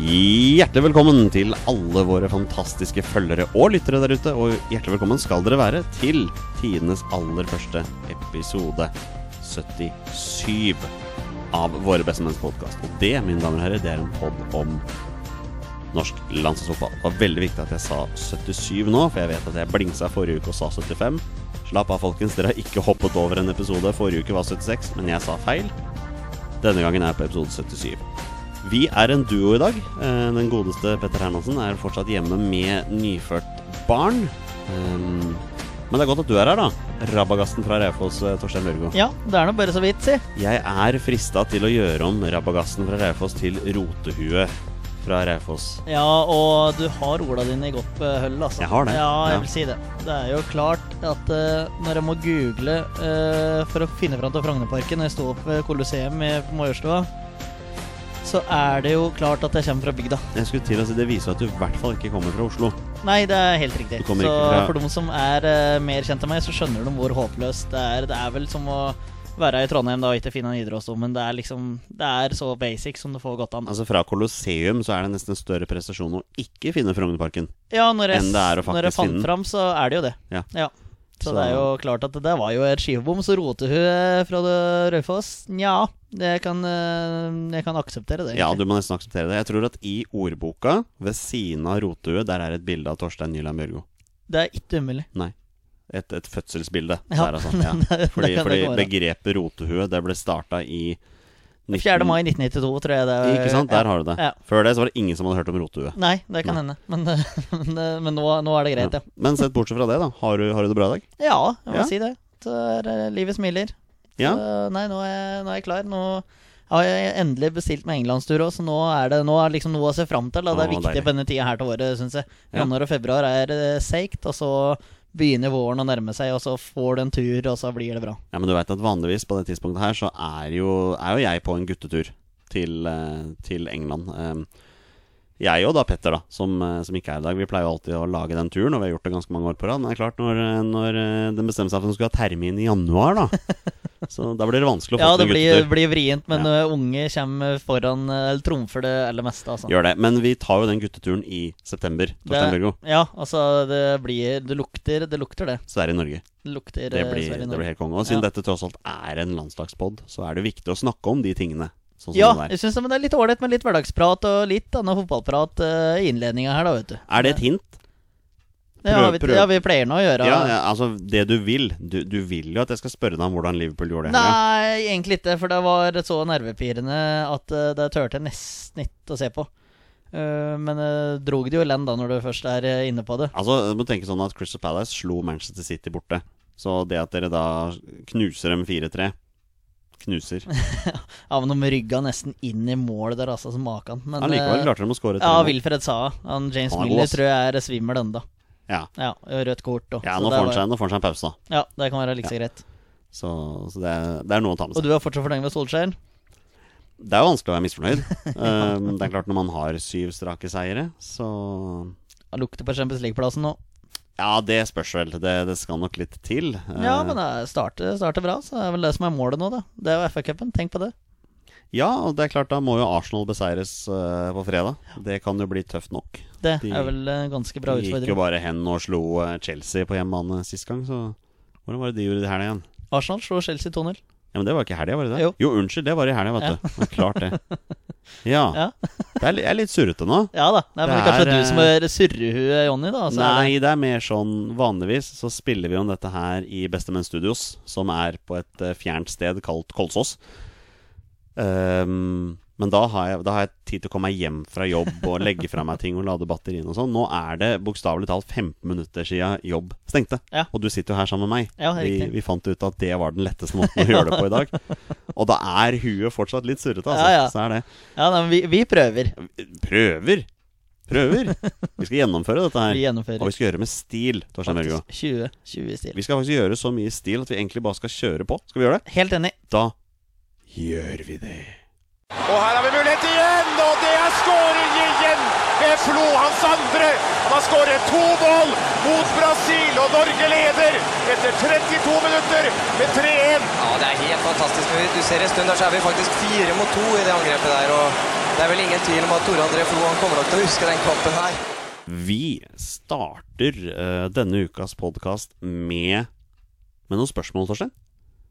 Hjertelig velkommen til alle våre fantastiske følgere og lyttere der ute. Og hjertelig velkommen skal dere være til tidenes aller første episode 77 av Våre bestemenns podkast. Og det, mine damer og herrer, det er en pod om norsk landslagsfotball. Det var veldig viktig at jeg sa 77 nå, for jeg vet at jeg blingsa forrige uke og sa 75. Slapp av, folkens. Dere har ikke hoppet over en episode. Forrige uke var 76, men jeg sa feil. Denne gangen er jeg på episode 77. Vi er en duo i dag. Eh, Den godeste Petter Hermansen er fortsatt hjemme med nyført barn. Um, Men det er godt at du er her, da. Rabagasten fra Raufoss, eh, Torstein Børgo. Ja, det er nå bare så vidt, si. Jeg er frista til å gjøre om Rabagasten fra Raufoss til Rotehue fra Raufoss. Ja, og du har orda dine i godt eh, høll, altså. Jeg har det, Ja, jeg ja. vil si det. Det er jo klart at eh, når jeg må google eh, for å finne fram til Frognerparken, når jeg sto opp ved Colosseum i Majorstua, så er det jo klart at jeg kommer fra bygda. Jeg skulle til å si Det viser at du i hvert fall ikke kommer fra Oslo. Nei, det er helt riktig. Du Så kommer ikke fra- for dem som er eh, mer kjent enn meg, så skjønner de hvor håpløst det er. Det er vel som å være i Trondheim da, og ikke finne Nidarosdomen. Det er liksom Det er så basic som det får gått an. Altså Fra Colosseum så er det nesten en større prestasjon å ikke finne Frognerparken. Ja, når jeg, enn det er å når jeg faktisk fant finne den. fram, så er det jo det. Ja. Så- Så, det er jo klart at det der var jo et skivebom, så roter hun eh, fra det Raufoss. Nja, jeg kan, eh, jeg kan akseptere det. Ja, egentlig. du må nesten akseptere det. Jeg tror at i ordboka, ved siden av Rotehue, der er et bilde av Torstein Nyland Bjørgo. Det er ikke umulig. et, et fødselsbilde. Ja, Der, altså. ja. det Fordi, kan det fordi ikke være. begrepet rotehue det ble starta i 19... 4. mai 1992, tror jeg det er. Ikke sant? Der har du det. Ja. Før det så var det ingen som hadde hørt om rotehue. Nei, det kan hende. Men, men, eh, men nå, nå er det greit, ja. Men sett bortsett fra det, da. Har du, har du det bra i dag? Ja, jeg må Ja. si det. Så er, eh, livet smiler. Ja. Så, nei, nå er, jeg- nå er jeg klar. Nå har jeg endelig bestilt meg englandstur òg, så nå er det nå er liksom noe å se fram til. Da. Det er Å, viktig deilig. på denne tida her til året, syns jeg. Ja. Januar og februar er eh, seigt, og så begynner våren å nærme seg, og så får du en tur, og så blir det bra. Ja, Men du veit at vanligvis på det tidspunktet her, så er jo, er jo jeg på en guttetur til, eh, til England. Ehm, Jeg og da Petter, da, som, eh, som ikke er i dag, vi pleier jo alltid å lage den turen, og vi har gjort det ganske mange år på rad. Men det er klart, når, eh, når eh, den bestemmer seg for at den skal ha termin i januar, da, så da blir det vanskelig å få Ja, til det en blir, guttetur. blir vrient, men eh, unge kommer foran eh, Eller trumfer det aller meste, altså. Gjør det. Men vi tar jo den gutteturen i september. Torstein Det- Børgo. Ja, altså, det blir Det lukter, det lukter det. Sverige, Norge. Det lukter Det eh, blir, Sverige nå. det blir helt konge. Og siden Ja. dette tross alt er en landslagspod, så er det viktig å snakke om de tingene. Sånn som Ja, det der. jeg syns det men det er litt ålreit med litt hverdagsprat og litt annen fotballprat eh, i innledninga her, da, vet du. Er det et hint? ja, prøv- vi, prøv. ja, vi pleier nå å gjøre Ja, ja, altså det du vil. Du, du vil jo at jeg skal spørre deg om hvordan Liverpool gjorde det. her, Nei, egentlig ikke, for det var så nervepirrende at eh, det turte jeg nesten ikke å se på. Eh, men uh, drog det jo i land da, når du først er eh, inne på det. ja. Altså, du må tenke sånn at Crystal Palace slo Manchester City borte. Så det at dere da knuser dem 4-3 Knuser. Sånn, Ja, men de rygga nesten inn i mål der, altså, som maken. Men Allikevel eh, klarte de å skåre ja, tre mål. Wilfred sa han James Han er god, Miller ass. tror jeg er svimmel ennå. Ja. ja. og Rødt kort og Ja, så nå det får han var- seg, nå får han seg en pause, da. Ja, det kan være like så greit. Så, så det, er- det er noe å ta med seg. Og du er fortsatt fornøyd med Solskjær? Det er jo vanskelig å være misfornøyd. Um, det er klart når man har syv strake seire, så Han lukter på Champions League-plassen nå. Ja, det spørs vel. Det, det skal nok litt til. Eh, Ja, men det starter, starter bra, så det er vel det som er målet nå, da. Det er jo FA-cupen, tenk på det. ja, og det er klart da må jo Arsenal beseires eh, på fredag. Det kan jo bli tøft nok. Det De- er vel en ganske bra De gikk jo utfordring. bare hen og slo eh, Chelsea på hjemmebane sist gang, så Hvordan var det de gjorde det her igjen? Arsenal slo Chelsea 2-0. Ja, men det var ikke i helga, var det det? Jo. unnskyld, det var i helga, vet du. Men klart det. Ja. Ja. Det er, li- jeg er litt surrete nå. Ja da. Nei, men det Det er kanskje er, eh, du som er surrehue, Jonny, da. Så Altså, er Nei, det er mer sånn Vanligvis så spiller vi om dette her i Bestemenn Studios, som er på et eh, fjernt sted kalt Kolsås. Ehm, men da har, jeg, da har jeg tid til å komme meg hjem fra jobb og legge fra meg ting og lade batteriene og sånn. Nå er det bokstavelig talt 15 minutter siden jobb stengte. Ja. Og du sitter jo her sammen med meg. Ja, det er vi, riktig. vi fant ut at det var den letteste måten å gjøre det på i dag. Og da er huet fortsatt litt surrete, altså. Ja, ja. Så er det. det- Ja, nei, men vi, vi prøver. Prøver! Prøver! Vi skal gjennomføre dette her. Vi gjennomfører. Og vi skal gjøre det med stil. Torstein Børgo. Faktisk 20, 20 i stil. Vi skal faktisk gjøre så mye stil at vi egentlig bare skal kjøre på. Skal vi gjøre det? Helt enig. Da gjør vi det. Og her har vi mulighet igjen, og det er skåring igjen ved Flo, hans andre. Han har skåret to mål mot Brasil, og Norge leder etter 32 minutter med 3-1. Ja, det er helt fantastisk. Du ser en stund der så er vi faktisk fire mot to i det angrepet der. Og, og Det er vel ingen tvil om at Tore André Flo han kommer nok til å huske den kampen her. Vi starter eh, denne ukas podkast med, med noen spørsmål, Torstein.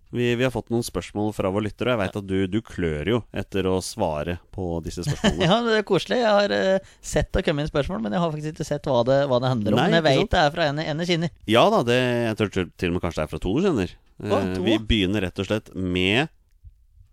Vi, vi har fått noen spørsmål fra våre lyttere, og jeg veit at du, du klør jo etter å svare på disse spørsmålene. Ja, det er koselig. Jeg har eh, sett det komme inn spørsmål, men jeg har faktisk ikke sett hva det, hva det handler om. Nei, men jeg ikke sant? vet det er fra en, en jeg kjenner. Ja da, det, jeg tror til til og med kanskje det er fra to du kjenner. Eh, Å, to? vi begynner rett og slett med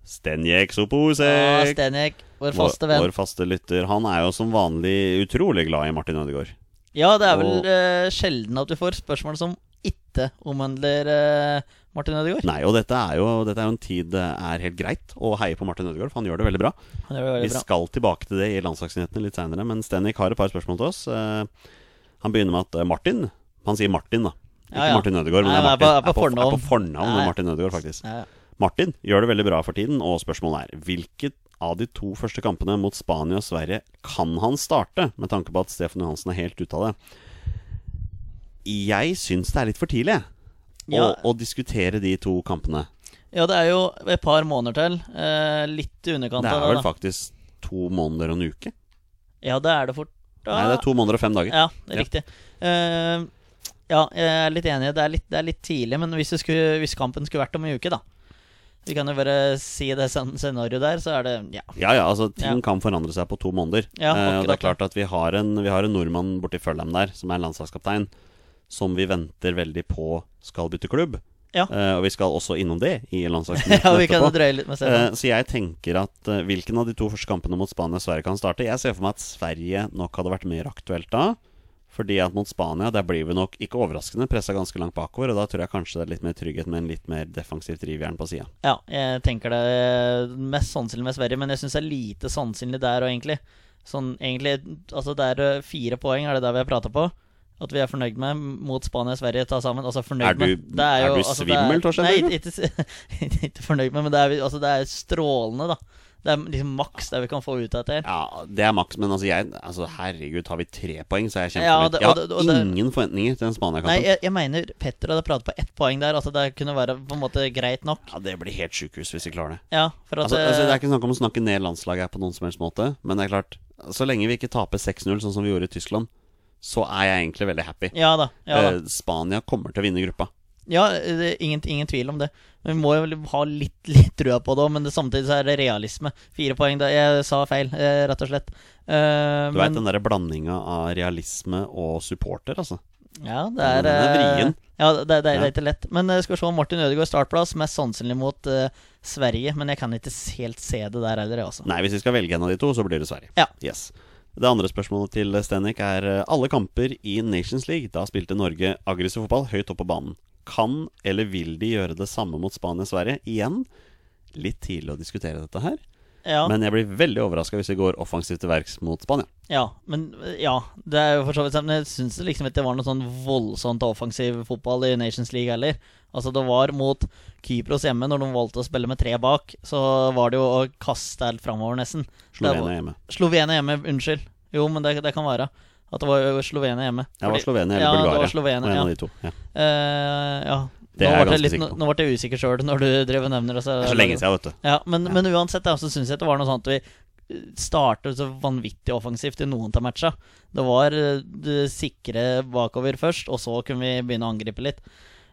Stenjek Ja, Soposek. Stenjek, vår Vår, faste venn. vår faste lytter. Han er jo som vanlig utrolig glad i Martin Ødegaard. Ja, det er vel og- eh, sjelden at du får spørsmål som ikke omhandler eh, Martin Ødegaard. Nei, og dette er jo, dette er jo en tid det er helt greit å heie på Martin Ødegaard, for han gjør det veldig bra. Det er Vi veldig bra. skal tilbake til det i landslagsnyhetene litt seinere, men Stenik har et par spørsmål til oss. Eh, han begynner med at eh, Martin Han sier Martin, da. Ikke Ja, ja. Martin Ødegaard, men det Nei, er Martin. men jeg er på- jeg er på er på fornavn. fornavn Ja, med ja. Martin Ødegaard, faktisk. Ja, ja. Martin gjør det veldig bra for tiden, og spørsmålet er hvilket av de to første kampene mot Spania og Sverige kan han starte, med tanke på at Stefan Johansen er helt ute av det? Jeg syns det er litt for tidlig jeg, å, Ja. å diskutere de to kampene. ja, det er jo et par måneder til. eh, litt i underkant Det av er vel det. da. faktisk to måneder og en uke? Ja, det er det fort. Nei, det er to måneder og fem dager. Ja, det Ja. er riktig. Eh, ja, jeg er litt enig. Det er litt, det er litt tidlig, men hvis, det skulle, hvis kampen skulle vært om en uke, da Vi kan jo bare si det scen- scenarioet der, så er det Ja. Ja, ja, altså ting Ja. kan forandre seg på to måneder. Ja, Eh, og det er akkurat klart at vi har en, vi har en nordmann borti Følheim der, som er landslagskaptein, som vi venter veldig på skal bytte klubb. Ja. Eh, og vi skal også innom det i landslagskampen ja vi kan jo etterpå. drøye litt med Eh, Stefan. så jeg tenker at eh, hvilken av de to første kampene mot Spania og Sverige kan starte? Jeg ser for meg at Sverige nok hadde vært mer aktuelt da. Fordi at mot Spania der blir vi nok ikke overraskende pressa ganske langt bakover. Og da tror jeg kanskje det er litt mer trygghet med en litt mer defensivt drivjern på sida. Ja, jeg tenker det er mest sannsynlig med Sverige, men jeg syns det er lite sannsynlig der òg, egentlig. Sånn egentlig Altså, det er eh, fire poeng, er det der vi har prata på? At vi er fornøyd med mot Spania og Sverige ta sammen. Altså fornøyd Er du- med Det altså, er du det svimmel, Torstein Nei, Børge? ikke, ikke, ikke fornøyd med, men det er, altså, det er strålende, da. Det er liksom maks det vi kan få ut av dette. her Ja, det er maks, men altså, jeg, altså herregud, tar vi tre poeng, så er jeg Ja, kjempefornøyd. det- Jeg og har det- og det- ingen forventninger til den Nei, Spania-kampen. jeg, jeg mener Petter hadde pratet på ett poeng der. Altså det kunne være på en måte greit nok. Ja, det blir helt sjukehus hvis vi klarer det. Ja, for at Altså, altså, det er eh, ikke snakk om å snakke ned landslaget her på noen som helst måte, men det er klart, så lenge vi ikke taper 6-0, sånn som vi gjorde i Tyskland, så er jeg egentlig veldig happy. Ja da. Ja, da. Eh, Spania kommer til å vinne gruppa. ja det, er ingen, ingen tvil om det. Men vi må jo ha litt, litt trua på det òg, men det, samtidig så er det realisme. Fire poeng. Da. Jeg sa feil, eh, rett og slett. Eh, Du veit den derre blandinga av realisme og supporter, altså. Ja, det er, Den er eh, vrien. Ja, det, det, det Ja. er ikke lett. Men eh, skal vi se om Martin Ødegaard startplass, mest sannsynlig mot eh, Sverige. Men jeg kan ikke helt se det der heller, jeg, altså. Nei, hvis vi skal velge en av de to, så blir det Sverige. Ja. Yes. Det andre spørsmålet til Stenik er eh, alle kamper i Nations League. Da spilte Norge aggressiv fotball høyt opp på banen. Kan eller vil de gjøre det samme mot Spania og Sverige? Igjen, litt tidlig å diskutere dette her, Ja. men jeg blir veldig overraska hvis vi går offensivt til verks mot Spania. Ja, men ja, det er jo for så vidt sant, Men jeg syns liksom ikke det var noe sånn voldsomt offensiv fotball i Nations League heller. Altså Det var mot Kypros hjemme, når de valgte å spille med tre bak, så var det jo å kaste helt framover, nesten. Det var- Slovenia hjemme. Slovenia hjemme, unnskyld. Jo, men det, det kan være. At det var jo Slovenia hjemme. Jeg var Fordi- Slovenia eller ja, det var Bulgaria. Slovenia, var en ja. av de to. Ja. Eh, ja. Det nå er jeg ble ganske litt, sikker nå, på. nå ble jeg usikker sjøl når du drev og nevner det. Det er så lenge siden, vet du. Ja, men, Ja. men uansett da, så syns jeg det var noe sånn at vi startet så vanvittig offensivt i noen av matcha. Det var eh, det sikre bakover først, og så kunne vi begynne å angripe litt.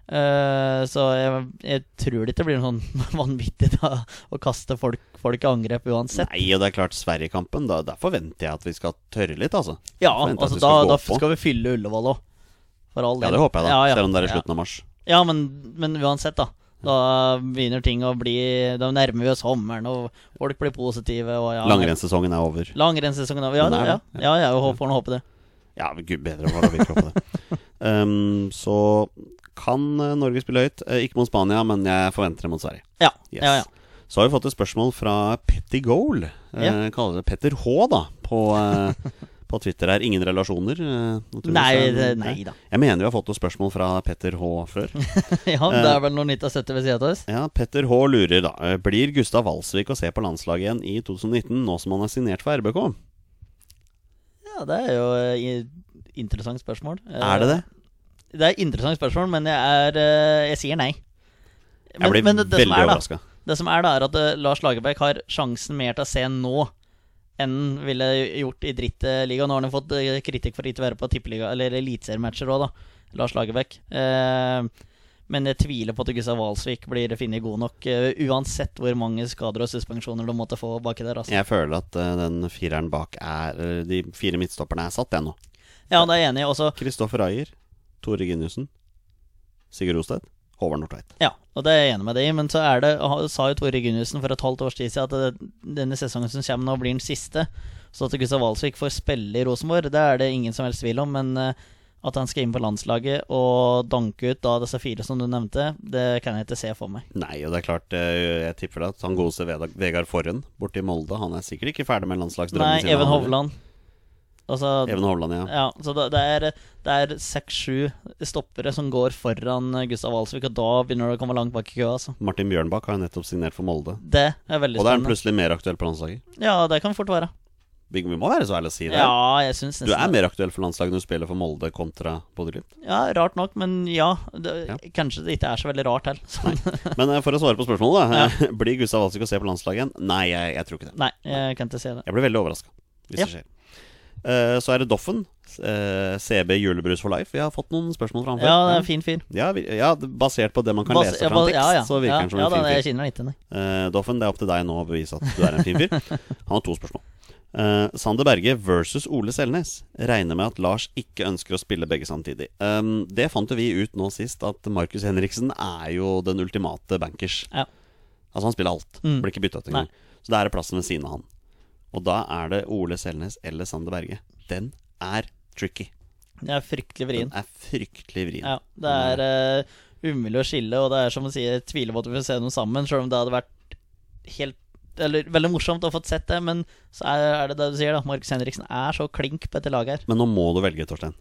Eh, så jeg, jeg tror det ikke blir noe sånn vanvittig da, å kaste folk, folk i angrep uansett. Nei, og det er klart, Sverigekampen, da, der forventer jeg at vi skal tørre litt, altså. Ja, forventer at altså vi da, skal gå da på. skal vi fylle Ullevål òg. For all Ja, del. det håper jeg, da. Ja, ja. Selv om det er i Ja. slutten av mars. Ja, men, men uansett, da. Da begynner ting å bli Da nærmer vi oss sommeren, og folk blir positive. Og ja, Langrennssesongen er over. Langrennssesongen er over. Ja, Den er ja, det. ja, ja, jeg hå- får nå håpe det. Ja, men gud bedre hva vi tror på det. Um, så kan eh, Norge spille høyt. Eh, Ikke mot Spania, men jeg forventer det mot Sverige. Ja, Yes. ja, ja. Så har vi fått et spørsmål fra Petty Goal. Eh, Ja. Kaller det Petter H, da, på, eh, på Twitter her. Ingen relasjoner, eh, naturligvis. Nei, Eh, det- nei da. Jeg mener vi har fått noen spørsmål fra Petter H før. Ja, det Eh. er vel noen 1970 ved sida av oss. Ja, Petter H lurer, da. Eh, Blir Gustav Walsvik å se på landslaget igjen i 2019, nå som han er signert for RBK? Ja, det er jo eh, i- interessant spørsmål. Eh, Er det det? Det er interessant spørsmål, men jeg er eh, Jeg sier nei. Jeg blir det som veldig er da- overraska. Det som er da, er at eh, Lars Lagerbäck har sjansen mer til å se nå enn ville gjort i drittligaen. Nå har han jo fått eh, kritikk for ikke å være på tippeliga, eller eliteseriematcher òg, da. Lars Lagerbäck. Eh, men jeg tviler på at Gustav Walsvik blir funnet god nok, eh, uansett hvor mange skader og suspensjoner du måtte få baki der. Altså. Jeg føler at eh, den fireren bak er eh, De fire midtstopperne er satt, jeg nå. Ja, det er jeg enig i. Også Kristoffer Ayer, Tore Ginussen, Sigurd Rostedt, Håvard Nordtveit. Ja, og det er jeg enig med deg i, men så er det, ha- sa jo Tore Gunnussen for et halvt års tid siden at det, denne sesongen som kommer nå, blir den siste. Så at Gustav Walsvik får spille i Rosenborg, det er det ingen som helst tvil om. Men eh, at han skal inn på landslaget og danke ut da disse fire som du nevnte, det kan jeg ikke se for meg. Nei, og det er klart, eh, jeg tipper det at han godeste Veda- Vegard Forhen borte i Molde, han er sikkert ikke ferdig med landslagsdrømmene Nei, Even han. Hovland. Altså, Even Hovland, ja. Ja, så det, det er Det er seks-sju stoppere som går foran eh, Gustav Walsvik, og da begynner du å komme langt bak i køa, altså. Martin Bjørnbakk har jo nettopp signert for Molde. Det er veldig Og da er han spennende. plutselig mer aktuell på landslaget. Ja, det kan fort være. Vi vi må være så ærlige å si det. Ja, jeg syns nesten Du er mer aktuell for landslaget når du spiller for Molde kontra Bodø-Glimt. Ja, rart nok, men ja. Det, Ja. Kanskje Kanskje det ikke er så veldig rart heller. Nei. Men eh, for å svare på spørsmålet, da. Blir Gustav Walsvik å se på landslaget igjen? Nei, jeg, jeg tror ikke det. jeg kan ikke se det. Jeg blir veldig overraska hvis Ja. det skjer. Eh, så er det Doffen. eh, CB Julebrus for life. Vi har fått noen spørsmål fra han før. Ja, det er en fin fyr. Ja, vi- ja, basert på det man kan Bas- lese ja, fra en bas- tekst, ja, ja. så virker ja, han som ja, en fin da, fyr. Jeg kjenner han ikke, nei. Eh, Doffen, det er opp til deg nå å bevise at du er en fin fyr. Han har to spørsmål. Eh, Sander Berge versus Ole Selnes. Regner med at Lars ikke ønsker å spille begge samtidig. Um, det fant jo vi ut nå sist, at Markus Henriksen er jo den ultimate bankers. Ja. Altså, han spiller alt. Mm. Blir ikke bytta ut engang. Så da er det plassen ved siden av han. Og da er det Ole Selnes eller Sander Berge. Den er tricky. Det er fryktelig Den vrien. er fryktelig vrien. Ja, det er eh, umulig å skille, og det er som å si jeg tviler på at vi får se dem sammen, sjøl om det hadde vært helt eller, Veldig morsomt å ha fått sett det, men så er, er det det du sier, da. Markus Henriksen er så klink på dette laget her. Men nå må du velge, Torstein.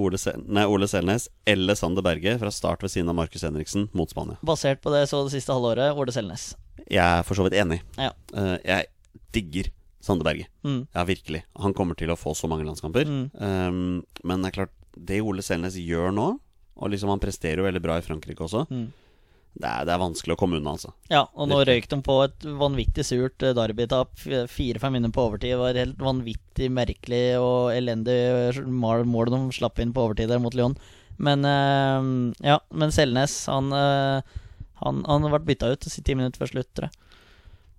Ole, Sel nei, Ole Selnes eller Sander Berge fra start ved siden av Markus Henriksen mot Spania. Basert på det jeg så det siste halvåret, Ole Selnes. Jeg er for så vidt enig. Ja. Eh, jeg digger Sander Berge. Mm. Ja, virkelig. Han kommer til å få så mange landskamper. Um, men det er klart, det Ole Selnes gjør nå, og liksom han presterer jo veldig bra i Frankrike også, Mm. det, er, det er vanskelig å komme unna, altså. Ja, og nå røyk de på et vanvittig surt eh, derbytap. F- Fire-fem minutter på overtid. Det var helt vanvittig merkelig og elendig eh, mal- mål de slapp inn på overtid der mot Lyon. Men eh, ja, men Selnes, han eh, han, han har vært bytta ut ti minutter før slutt, tror jeg.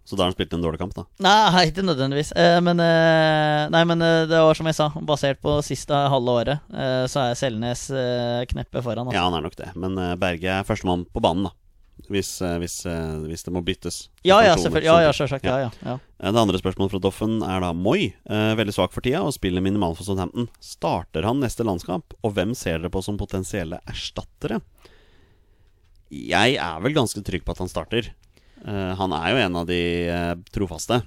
Så da har han spilt en dårlig kamp, da. Nei, ikke nødvendigvis. Eh, men, eh, nei, men eh, det var som jeg sa, basert på siste halve året, eh, så er Selnes eh, kneppet foran. Altså. Ja, han er nok det. Men eh, Berge er førstemann på banen, da. Hvis, eh, hvis, eh, hvis det må byttes. Ja, ja, Funksjoner, selvfølgelig. Ja, sånne ja, ting. selvsagt. Ja, ja, ja. Eh, Det andre spørsmålet fra Doffen er da Moi. Eh, veldig svak for tida og spiller minimal for Southampton. Starter han neste landskamp, og hvem ser dere på som potensielle erstattere? Jeg er vel ganske trygg på at han starter. Eh, han er jo en av de eh, trofaste.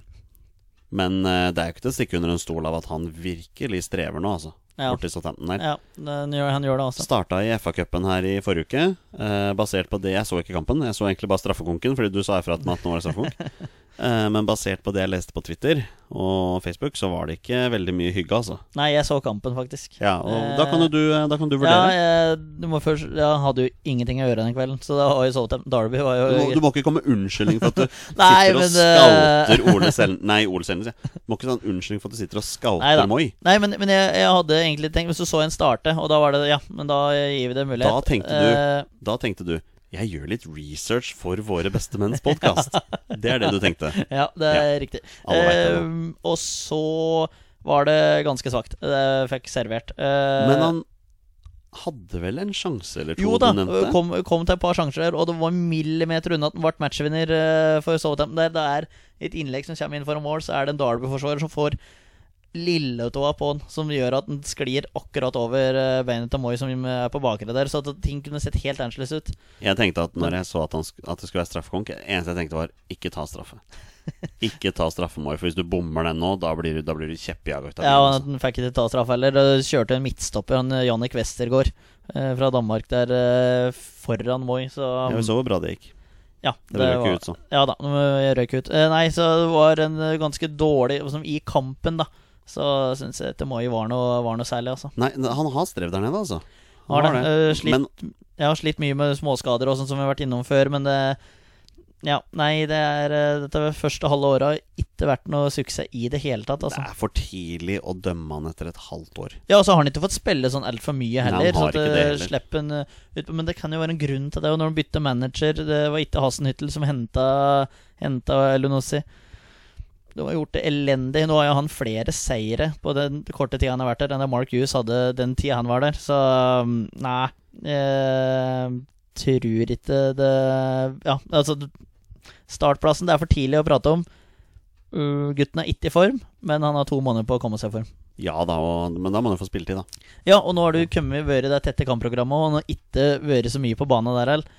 Men eh, det er jo ikke til å stikke under en stol av at han virkelig strever nå, altså. Ja. Borti Southampton der. ja den gjør, han gjør det altså. også. Starta i FA-cupen her i forrige uke. Eh, basert på det Jeg så ikke kampen. Jeg så egentlig bare straffekonken, fordi du sa ifra at den 18 år er straffekonk. Eh, men basert på det jeg leste på Twitter og Facebook, så var det ikke veldig mye hygge, altså. Nei, jeg så kampen, faktisk. Ja, og da kan jo du, eh, da kan du Ja, vurdere. jeg, du må først, jeg hadde jo ingenting å gjøre den kvelden, så da var jo Southampton Derby var jo Du må, du må ikke komme med unnskyldning for at du Nei, sitter og men, eh, skalter Ole Selnes Nei, Ole Selnes, ja. Du må ikke sånn unnskyldning for at du sitter og Nei da. skalter Moi. Nei, men, men jeg, jeg hadde egentlig tenkt Hvis du så en starte, og da var det Ja, men da gir vi det mulighet. Eh, Da tenkte du- Da tenkte du jeg gjør litt research for Våre beste menns podkast. Det er det du tenkte. Eh, ja, det er riktig. alle vet det Eh, og så var det ganske svakt. Det fikk servert. Eh, Men han hadde vel en sjanse eller to, jo da, eh, du nevnte? kom, kom til et par sjanser der, og det var millimeter unna at han ble matchvinner eh, for Southampton. Der det er et innlegg som kommer inn for mål, så er det en Derby-forsvarer som får lilletåa på han, som gjør at den sklir akkurat over eh, beinet til Moi, som er på bakre der. Så at ting kunne sett helt annerledes ut. Jeg tenkte at når jeg så at, han, sk- at det skulle være straffekonk, det eneste jeg tenkte var ikke ta straffe. Ikke ta straffe, Moi, for hvis du bommer den nå, da blir du, da blir du kjeppjaga ut av Ja, bilen, og altså. at han fikk ikke ta straff heller. og Kjørte en midtstopper, han eh, Jannik Westergaard eh, fra Danmark, der eh, foran Moi, så Ja, vi så hvor bra det gikk. ja, Det ville ikke ut sånn. Ja da, nå røyk ut. Eh, Nei, så det var en eh, ganske dårlig som I kampen, da, så syns jeg Temoy var, noe- var noe særlig, altså. Nei, ne- han har strevd der nede, altså. Har det. Eh, slitt- Men Jeg har slitt mye med småskader og sånn som vi har vært innom før, men det Ja, nei, det er eh, dette første halve året har ikke ikke vært noe suksess i det hele tatt. Det Altså. er for tidlig å dømme han etter et halvt år. Ja, og så har han ikke fått spille sånn altfor mye han har heller. så at, ikke det eh, heller. slipper han, eh, ut, på- men det kan jo være en grunn til det. Og når han bytter manager Det var ikke Hasenhyttel som henta, henta Lunossi. Det var gjort det elendig. Nå har jo han flere seire på den korte tida han har vært der, enn det Mark Hughes hadde den tida han var der. Så mm, nei eh, Tror ikke det Ja, altså Startplassen, det er for tidlig å prate om. Uh, gutten er ikke i form, men han har to måneder på å komme seg i form. Ja da, og, men da må han jo få spilletid, da. Ja, og nå har du kommet vært i det tette kampprogrammet, og han har ikke vært så mye på banen der heller.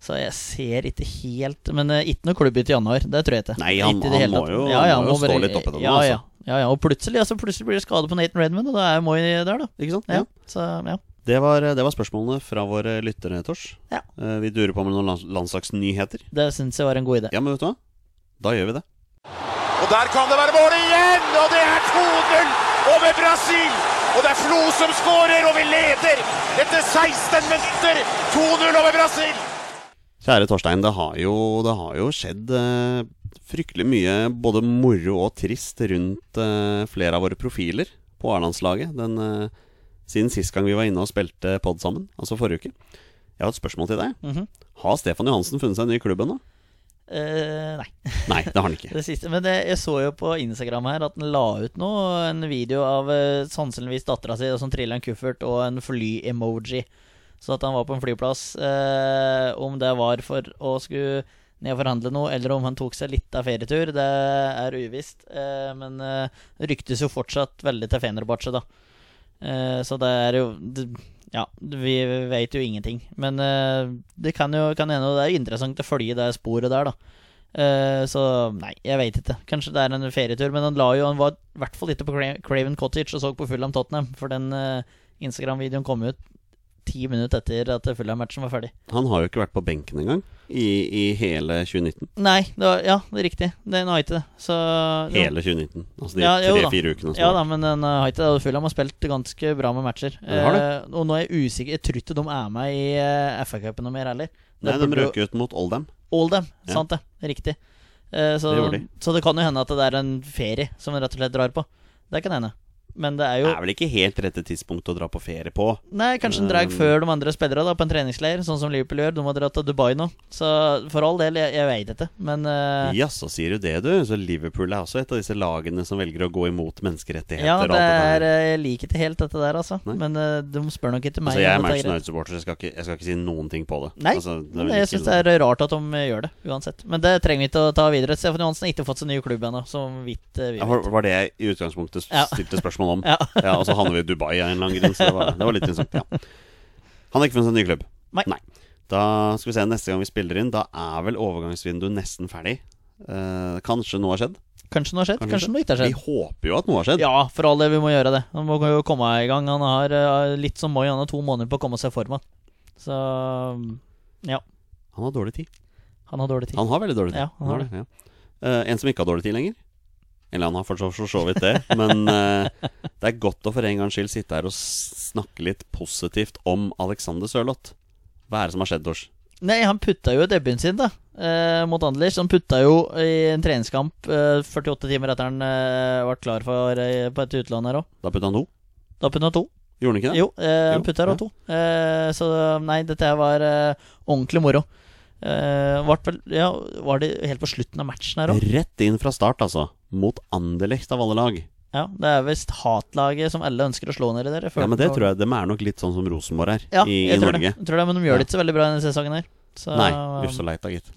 Så jeg ser ikke helt Men eh, ikke noe klubbbytte i januar, det tror jeg ikke. Nei, han- Ikke i det han hele må tatt. jo- han må jo stå litt opp i det nå, ja, altså. ja, ja, ja. Og plutselig, altså, plutselig blir det skade på Nathan Redmond, og da er Moi der, da. Ikke sant? Ja, så, ja. Det, var, eh, det var spørsmålene fra våre lyttere, Tors. Ja. Eh, vi durer på med noen lands landslagsnyheter. Det syns jeg var en god idé. Ja, men vet du hva? Da gjør vi det. Og der kan det være mål igjen! Og det er 2-0 over Brasil! Og det er Flo som skårer, og vi leder etter 16 minutter! 2-0 over Brasil! Kjære Torstein, det har jo, det har jo skjedd eh, fryktelig mye både moro og trist rundt eh, flere av våre profiler på A-landslaget den, eh, siden sist gang vi var inne og spilte pod sammen, altså forrige uke. Jeg har et spørsmål til deg. Mhm. Har Stefan Johansen funnet seg en ny klubb ennå? Eh, nei. Nei, det har han ikke. Det siste, men det, jeg så jo på Instagram her at han la ut nå en video av eh, sannsynligvis dattera si som trilla en kuffert, og en fly-emoji. Så at han var på en flyplass. Eh, om det var for å skulle ned og forhandle noe, eller om han tok seg litt av ferietur, det er uvisst. Eh, men eh, det ryktes jo fortsatt veldig til Fenerbahçe, da. Eh, så det er jo det, Ja, vi vet jo ingenting. Men eh, det kan jo kan hende, og det er interessant å følge det sporet der, da. Eh, så nei, jeg veit ikke. Kanskje det er en ferietur. Men han la jo Han var i hvert fall ikke på Cra- Craven Cottage og så på Fulham Tottenham. For den eh, Instagram-videoen kom ut ti minutter etter at Fulham-matchen var ferdig. Han har jo ikke vært på benken engang i, i hele 2019. Nei, det var, ja, det er riktig. Den har ikke det. Så Hele 2019. Altså de Ja, jo da. tre-fire ukene som Ja var. da, men den eh, har ikke det. Og Fulham har spilt ganske bra med matcher. Ja, det har det. Eh, og nå er jeg usikker. Jeg tror ikke de er med i eh, FA-cupen noe mer heller. Nei, Det de burde jo- røk ut mot Oldham. All them, Ja. sant det. Riktig. Eh, så, Det gjorde de. så det kan jo hende at det er en ferie som de rett og slett drar på. Det kan hende. Men det er Det jo er vel ikke helt rette tidspunkt å dra på ferie på. Nei, kanskje en drag Um, før de andre spillere da, på en treningsleir, sånn som Liverpool gjør. De har dratt til Dubai nå. Så for all del, jeg, jeg veit dette, men eh, Jaså, sier du det, du? Så Liverpool er også et av disse lagene som velger å gå imot menneskerettigheter ja, og det alt er, det der. eh, jeg liker ikke helt dette der, altså. Nei. Men eh, de spør nok ikke meg. Altså, jeg er om dette Manchester greit. United-supporter, så jeg skal, ikke, jeg skal ikke si noen ting på det. Nei, altså, det men jeg syns det er rart at de gjør det, uansett. Men det trenger vi ikke å ta videre. Stefan Johansen har ikke fått seg ny klubb ennå, som vidt eh, vi vet. Var det jeg i utgangspunktet s- Ja. stilte spørsmål om? Ja. ja, Og så havner vi i Dubai av en eller annen grunn, så det var, det var litt interessant. Ja. Han har ikke funnet seg en ny klubb. Nei. Da skal vi se, neste gang vi spiller inn, da er vel overgangsvinduet nesten ferdig. Eh, kanskje noe har skjedd? Kanskje noe har skjedd, kanskje noe ikke har skjedd. Vi håper jo at noe har skjedd. Ja, for all del, vi må gjøre det. Han må jo komme i gang. Han har eh, litt som Moi, han har to måneder på å komme seg i form igjen. Så ja, Han har dårlig tid. han har dårlig tid. Han har veldig dårlig tid. Ja, han har det, ja. Eh, en som ikke har dårlig tid lenger. Eller han har for så, for så vidt det, men eh, det er godt å for en gangs skyld sitte her og s- snakke litt positivt om Alexander Sørloth. Hva er det som har skjedd, Tors? Nei, han putta jo i debuten sin, da. Eh, mot Anderlecht. Han putta jo i en treningskamp eh, 48 timer etter han eh, var klar for eh, på et utland her òg. Da putta han to. Da putta han to. Gjorde han ikke det? Jo, eh, Jo, han putta ja. og to. Eh, så nei, dette her var eh, ordentlig moro. Eh, vart vel, ja, var det helt på slutten av matchen her òg? Rett inn fra start, altså. Mot Anderlecht av alle lag. Ja, det er visst hatlaget som alle ønsker å slå ned i dere. Ja, Men det tror jeg dem er nok litt sånn som Rosenborg er Ja, i, i jeg tror Norge. Det. Jeg tror det, men de gjør det ikke så veldig bra denne sesongen her. Så, um, Nei, uff så leit da, gitt.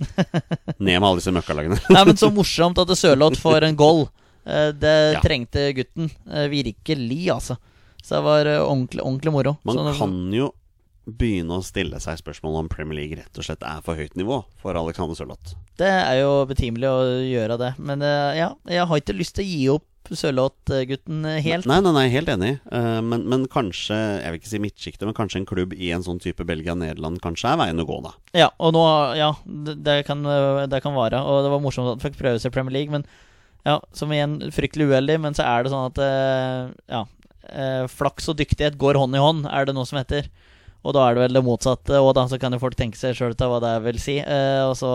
Ned med alle disse møkkalagene. Nei, men så morsomt at Sørloth får en goal. Eh, Det Ja. trengte gutten. Eh, Virkelig, altså. Så det var eh, ordentlig, ordentlig moro. Man så, kan jo begynne å stille seg spørsmål om Premier League rett og slett er for høyt nivå for Alexander Sørloth. Det er jo betimelig å gjøre det. Men eh, ja, jeg har ikke lyst til å gi opp Sørloth-gutten eh, helt. Nei, nei, nei, helt enig. Eh, men, men kanskje, jeg vil ikke si midtsjiktet, men kanskje en klubb i en sånn type Belgia-Nederland kanskje er veien å gå, da. Ja, og nå Ja, det, det, kan, eh, det kan vare. Og det var morsomt at han fikk prøve seg i Premier League, men ja, som igjen fryktelig uheldig. Men så er det sånn at eh, ja, eh, flaks og dyktighet går hånd i hånd, er det noe som heter. Og da er det vel det motsatte, og da så kan jo folk tenke seg sjøl til hva det vil si. Eh, og så,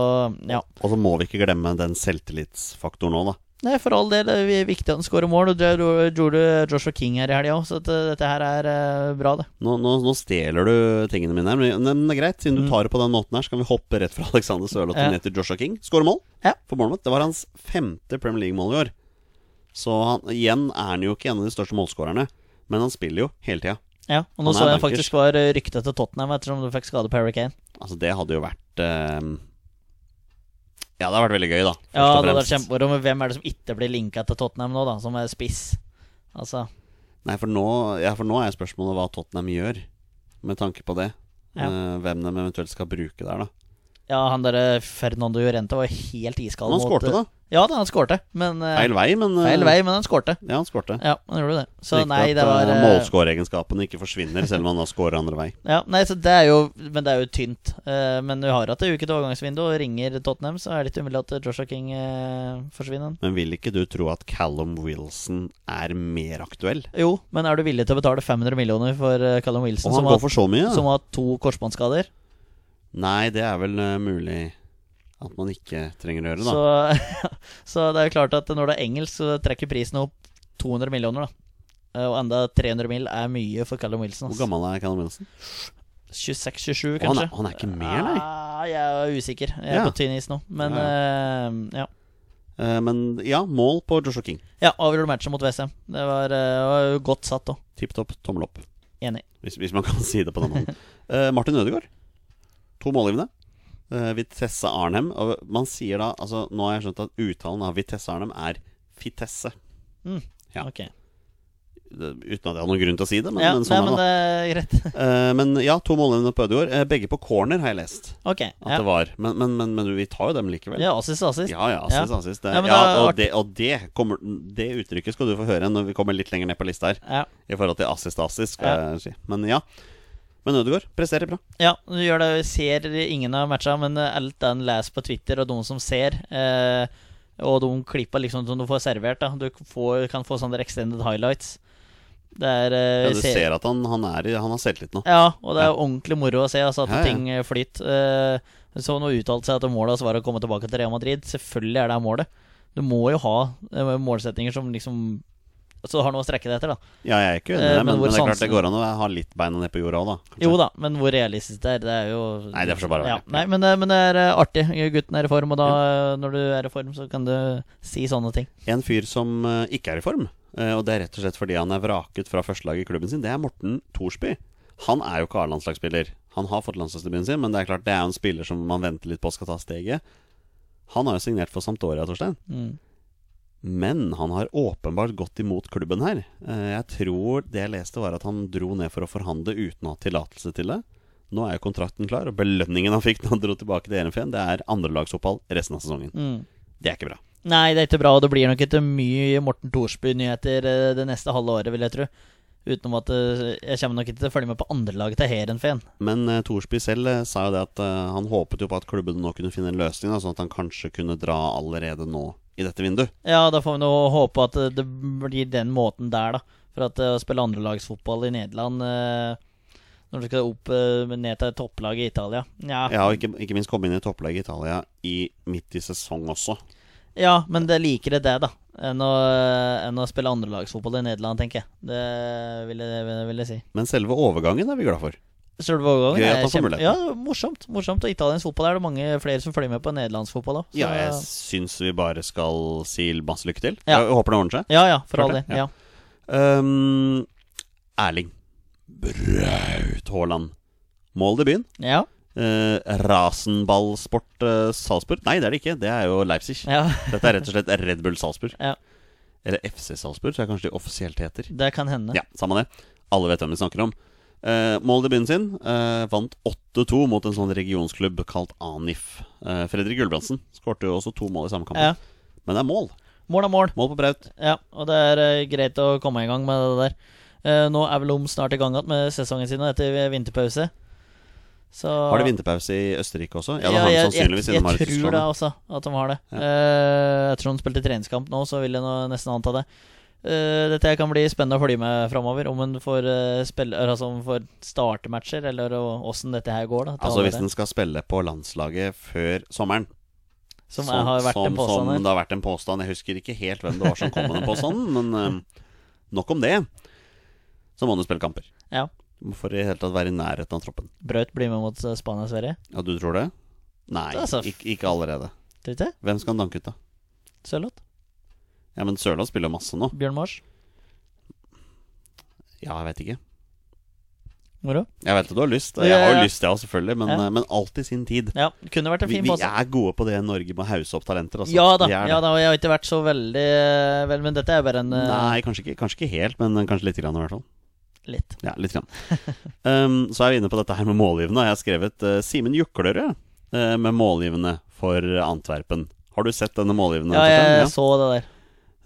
ja. Og så må vi ikke glemme den selvtillitsfaktoren òg, da. Nei, for all del. Det er viktig at han skårer mål. Og det gjorde Joshua King her i helga òg, så at, eh, dette her er eh, bra, det. Nå, nå, nå stjeler du tingene mine her, men- men det er greit. Siden du tar det på den måten her, så kan vi hoppe rett fra Alexander Sørloth Mm. Ja. ned til Joshua King. Skårer mål Ja. for Bournemouth. Det var hans femte Premier League-mål i år. Så han, igjen er han jo ikke en av de største målskårerne, men han spiller jo hele tida. Ja, og nå Han er så jeg bankers. faktisk var eh, ryktet til Tottenham ettersom du fikk skade på Harry Kane. Altså, det hadde jo vært eh, Ja, det hadde vært veldig gøy, da. først Ja, og det hadde vært fremst. kjempemoro. Men hvem er det som ikke blir linka til Tottenham nå, da? Som er spiss? Altså Nei, for nå, ja, for nå er spørsmålet hva Tottenham gjør med tanke på det. Ja. Eh, hvem de eventuelt skal bruke der, da. Ja, han derre Fernando Llorente var helt iskald Men eh, han skårte, da. Ja da, han skårte. Men eh, Feil vei, men eh, feil vei, men han skårte. Ja, han skårte. Ja, han gjorde det. Så Viktig nei, at, det var eh, eh, Målskåreegenskapene ikke forsvinner, selv om han da scorer andre vei. Ja, nei, så det er jo Men det er jo tynt. Eh, men du har hatt ei uke til overgangsvindu, og ringer Tottenham, så er det litt umulig at Joshua King eh, forsvinner. Men vil ikke du tro at Callum Wilson er mer aktuell? Jo, men er du villig til å betale 500 millioner for eh, Callum Wilson, Og han som går har, for så mye? som Ja. har to korsbåndskader? Nei, det er vel eh, mulig at man ikke trenger å gjøre, da. Så, så det er jo klart at når det er engelsk, så trekker prisen opp 200 millioner, da. Eh, Og enda 300 mill. er mye for Callum Wilson. Hvor ass. gammel er Callum Wilson? 26-27, Å, han, kanskje. er, han er ikke mer, nei. Ah, jeg er usikker. Jeg er Ja. på tynn is nå. Men Ja, eh, ja. Eh, men ja, mål på Joshua King. ja, avgjorde matchen mot Westham. Det var, eh, var jo godt satt òg. Tipp topp, tommel opp. Enig. Hvis, hvis man kan si det på den måten. Eh, Martin Ødegaard. To målgivende. Eh, Vitesse Arnhem. Og man sier da altså, Nå har jeg skjønt at uttalen av Vitesse Arnhem er Fitesse. Ja. Ok. Det, uten at jeg har noen grunn til å si det, men, ja, men nei, sånn men er det. det er greit. da. Eh, men ja, to målgivende på Ødegaard. Eh, begge på corner, har jeg lest Ok. at Ja. det var. Men, men, men, men vi tar jo dem likevel. ja, assist, assist. Ja, ja, assist, Ja. assist. Det, Ja, ja, men da- og, det, og det, kommer, det uttrykket skal du få høre når vi kommer litt lenger ned på lista her. Ja. I forhold til assist, assist, skal jeg si. Men ja. Men Ødegaard presterer bra. Ja, du gjør det. Ser ingen av matcha, men eh, alt det han leser på Twitter, og de som ser, eh, og de klippa liksom som du får servert, da. Du får, kan få sånne extended highlights. Det er eh, Ja, du ser- ser at han, han, er, i- han har selvtillit nå. Ja, og det er Ja. ordentlig moro å se altså, at Ja, ja. ting eh, flyter. Eh, Så nå uttalte seg at målet hans var å komme tilbake til Real Madrid. Selvfølgelig er det målet. Du må jo ha eh, målsetninger som liksom Så du har noe å strekke deg etter, da. Ja, jeg er ikke enig i Eh, det, men men, hvor men det er klart sansen- det går an å ha litt beina ned på jorda òg, da. kanskje. Jo da, men hvor realistisk det er, det er jo Nei, det får så bare være. Ja, nei, men, det- men det er eh, artig. Gutten er i form, og da, eh, når du er i form, så kan du si sånne ting. En fyr som eh, ikke er i form, eh, og det er rett og slett fordi han er vraket fra førstelaget i klubben sin, det er Morten Thorsby. Han er jo ikke A-landslagsspiller. Han har fått landslagsdebuten sin, men det er klart det er jo en spiller som man venter litt på skal ta steget. Han har jo signert for Sampdoria, Torstein. Mm. Men han har åpenbart gått imot klubben her. Eh, Jeg tror det jeg leste var at han dro ned for å forhandle uten å ha tillatelse til det. Nå er jo kontrakten klar, og belønningen han fikk da han dro tilbake til Erenfeen, det er andrelagsopphold resten av sesongen. Mm. Det er ikke bra. Nei, det er ikke bra, og det blir nok ikke mye Morten Thorsby-nyheter eh, det neste halve året, vil jeg tro. Utenom at eh, jeg kommer nok ikke til å følge med på andrelaget til Heerenveen. Men eh, Thorsby selv eh, sa jo det at eh, han håpet jo på at klubben nå kunne finne en løsning, da, sånn at han kanskje kunne dra allerede nå i dette vinduet. Ja, da får vi nå håpe at eh, det blir den måten der, da. For at eh, å spille andrelagsfotball i Nederland eh, når du skal opp eh, ned til topplaget i Italia Ja, ja. Ja, og ikke, ikke minst komme inn i topplaget i Italia i, midt i sesong også. men det liker det, det, da. Enn å, enn å spille andrelagsfotball i Nederland, tenker jeg. Det vil jeg, vil jeg si. Men selve overgangen er vi glad for. Selve overgangen Gøy at er man får kjempe... muligheten. Ja, morsomt. morsomt Og italiensk fotball er det mange flere som følger med på enn nederlandsk fotball òg. Ja, jeg syns vi bare skal si masse lykke til. Ja. Jeg håper det ordner seg. ja, ja, for Klart all del. det, Ja. Ehm, Erling Braut Haaland. Mål debuten. Ja. Uh, Rasenballsport eh, Salzburg. Nei, det er det ikke. Det er jo Leipzig. ja, Dette er rett og slett Red Bull Salzburg. Ja. Eller FC Salzburg, tror jeg kanskje de offisielt heter. det kan hende. Ja, samme det. Alle vet hvem vi snakker om. Uh, Måldebuten sin eh, vant 8-2 mot en sånn regionsklubb kalt Anif. Eh, Fredrik Gulbrandsen skårte jo også to mål i samme kamp. Ja. Men det er mål. Mål er mål. Mål på Braut. Ja, og det er eh, greit å komme i gang med det der. Eh, nå er vel Om snart i gang igjen med sesongen sin etter vinterpause. Så Har de vinterpause i Østerrike også? Ja, det Ja, har de jeg- sannsynligvis. Jeg, siden de har jeg, et tror det utslagskamp. også, at de har det. Ja. Eh, jeg tror de spilte treningskamp nå, så vil jeg nå nesten anta det. Eh, dette her kan bli spennende å følge med framover, om en får, eh, spille, altså om en får starte matcher, eller åssen dette her går. Da, til Altså alle Hvis den skal spille på landslaget før sommeren, der. Som jeg har vært som, en påstand Som her. det har vært en påstand. Jeg husker ikke helt hvem det var som kom med den påstanden, men eh, nok om det. Så må du spille kamper. Ja. For i det hele tatt være i nærheten av troppen. Braut blir med mot eh, Spania og Sverige. Ja, du tror det? Nei, Det er så- ikke, ikke allerede. Tror du ikke? Hvem skal han danke ut, da? Sørloth? Ja, men Sørloth spiller jo masse nå. Bjørn Mars? Ja, jeg vet ikke. Moro? Jeg vet at du har lyst. Ja, Jeg har ja. jo lyst, jeg òg, selvfølgelig. Men, Ja. eh, men alt i sin tid. Ja, det kunne vært en Vi, fin vi påstand. er gode på det i Norge med å hause opp talenter. Altså. Ja da, Vi er ja det. da, og jeg har ikke vært så veldig eh, Vel, men dette er bare en eh, Nei, kanskje ikke, kanskje ikke helt, men eh, kanskje litt grann, i hvert fall. litt. Ja, litt grann. um, så er vi inne på dette her med målgivende. og Jeg har skrevet eh, Simen Juklerød eh, med målgivende for Antwerpen. Har du sett denne målgivende? Ja, jeg Torstein? så det der.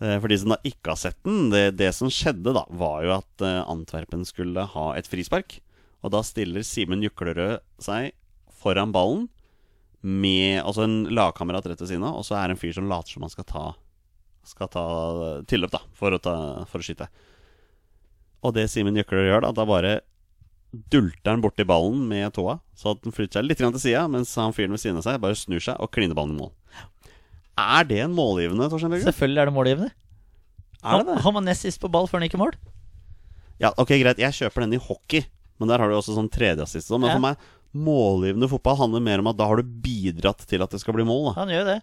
Eh, For de som da ikke har sett den, det, det som skjedde da, var jo at eh, Antwerpen skulle ha et frispark. Og da stiller Simen Juklerød seg foran ballen med altså en lagkamerat rett ved siden av, og så er det en fyr som later som han skal ta Skal ta eh, tilløp, da, for å, ta, for å skyte. Og det Simen Juklerød gjør, da, da bare dulter han borti ballen med tåa, så at den flytter seg litt grann til sida, mens han fyren ved siden av seg bare snur seg og kliner ballen i mål. Er det en målgivende, Torstein Børge? Selvfølgelig er det målgivende. Er det det? Han, han var nest sist på ball før han gikk i mål. Ja, ok, greit, jeg kjøper den i hockey, men der har du også sånn tredjeassist. og sånn, Men Ja. for meg, målgivende fotball handler mer om at da har du bidratt til at det skal bli mål. Da. Han gjør jo det.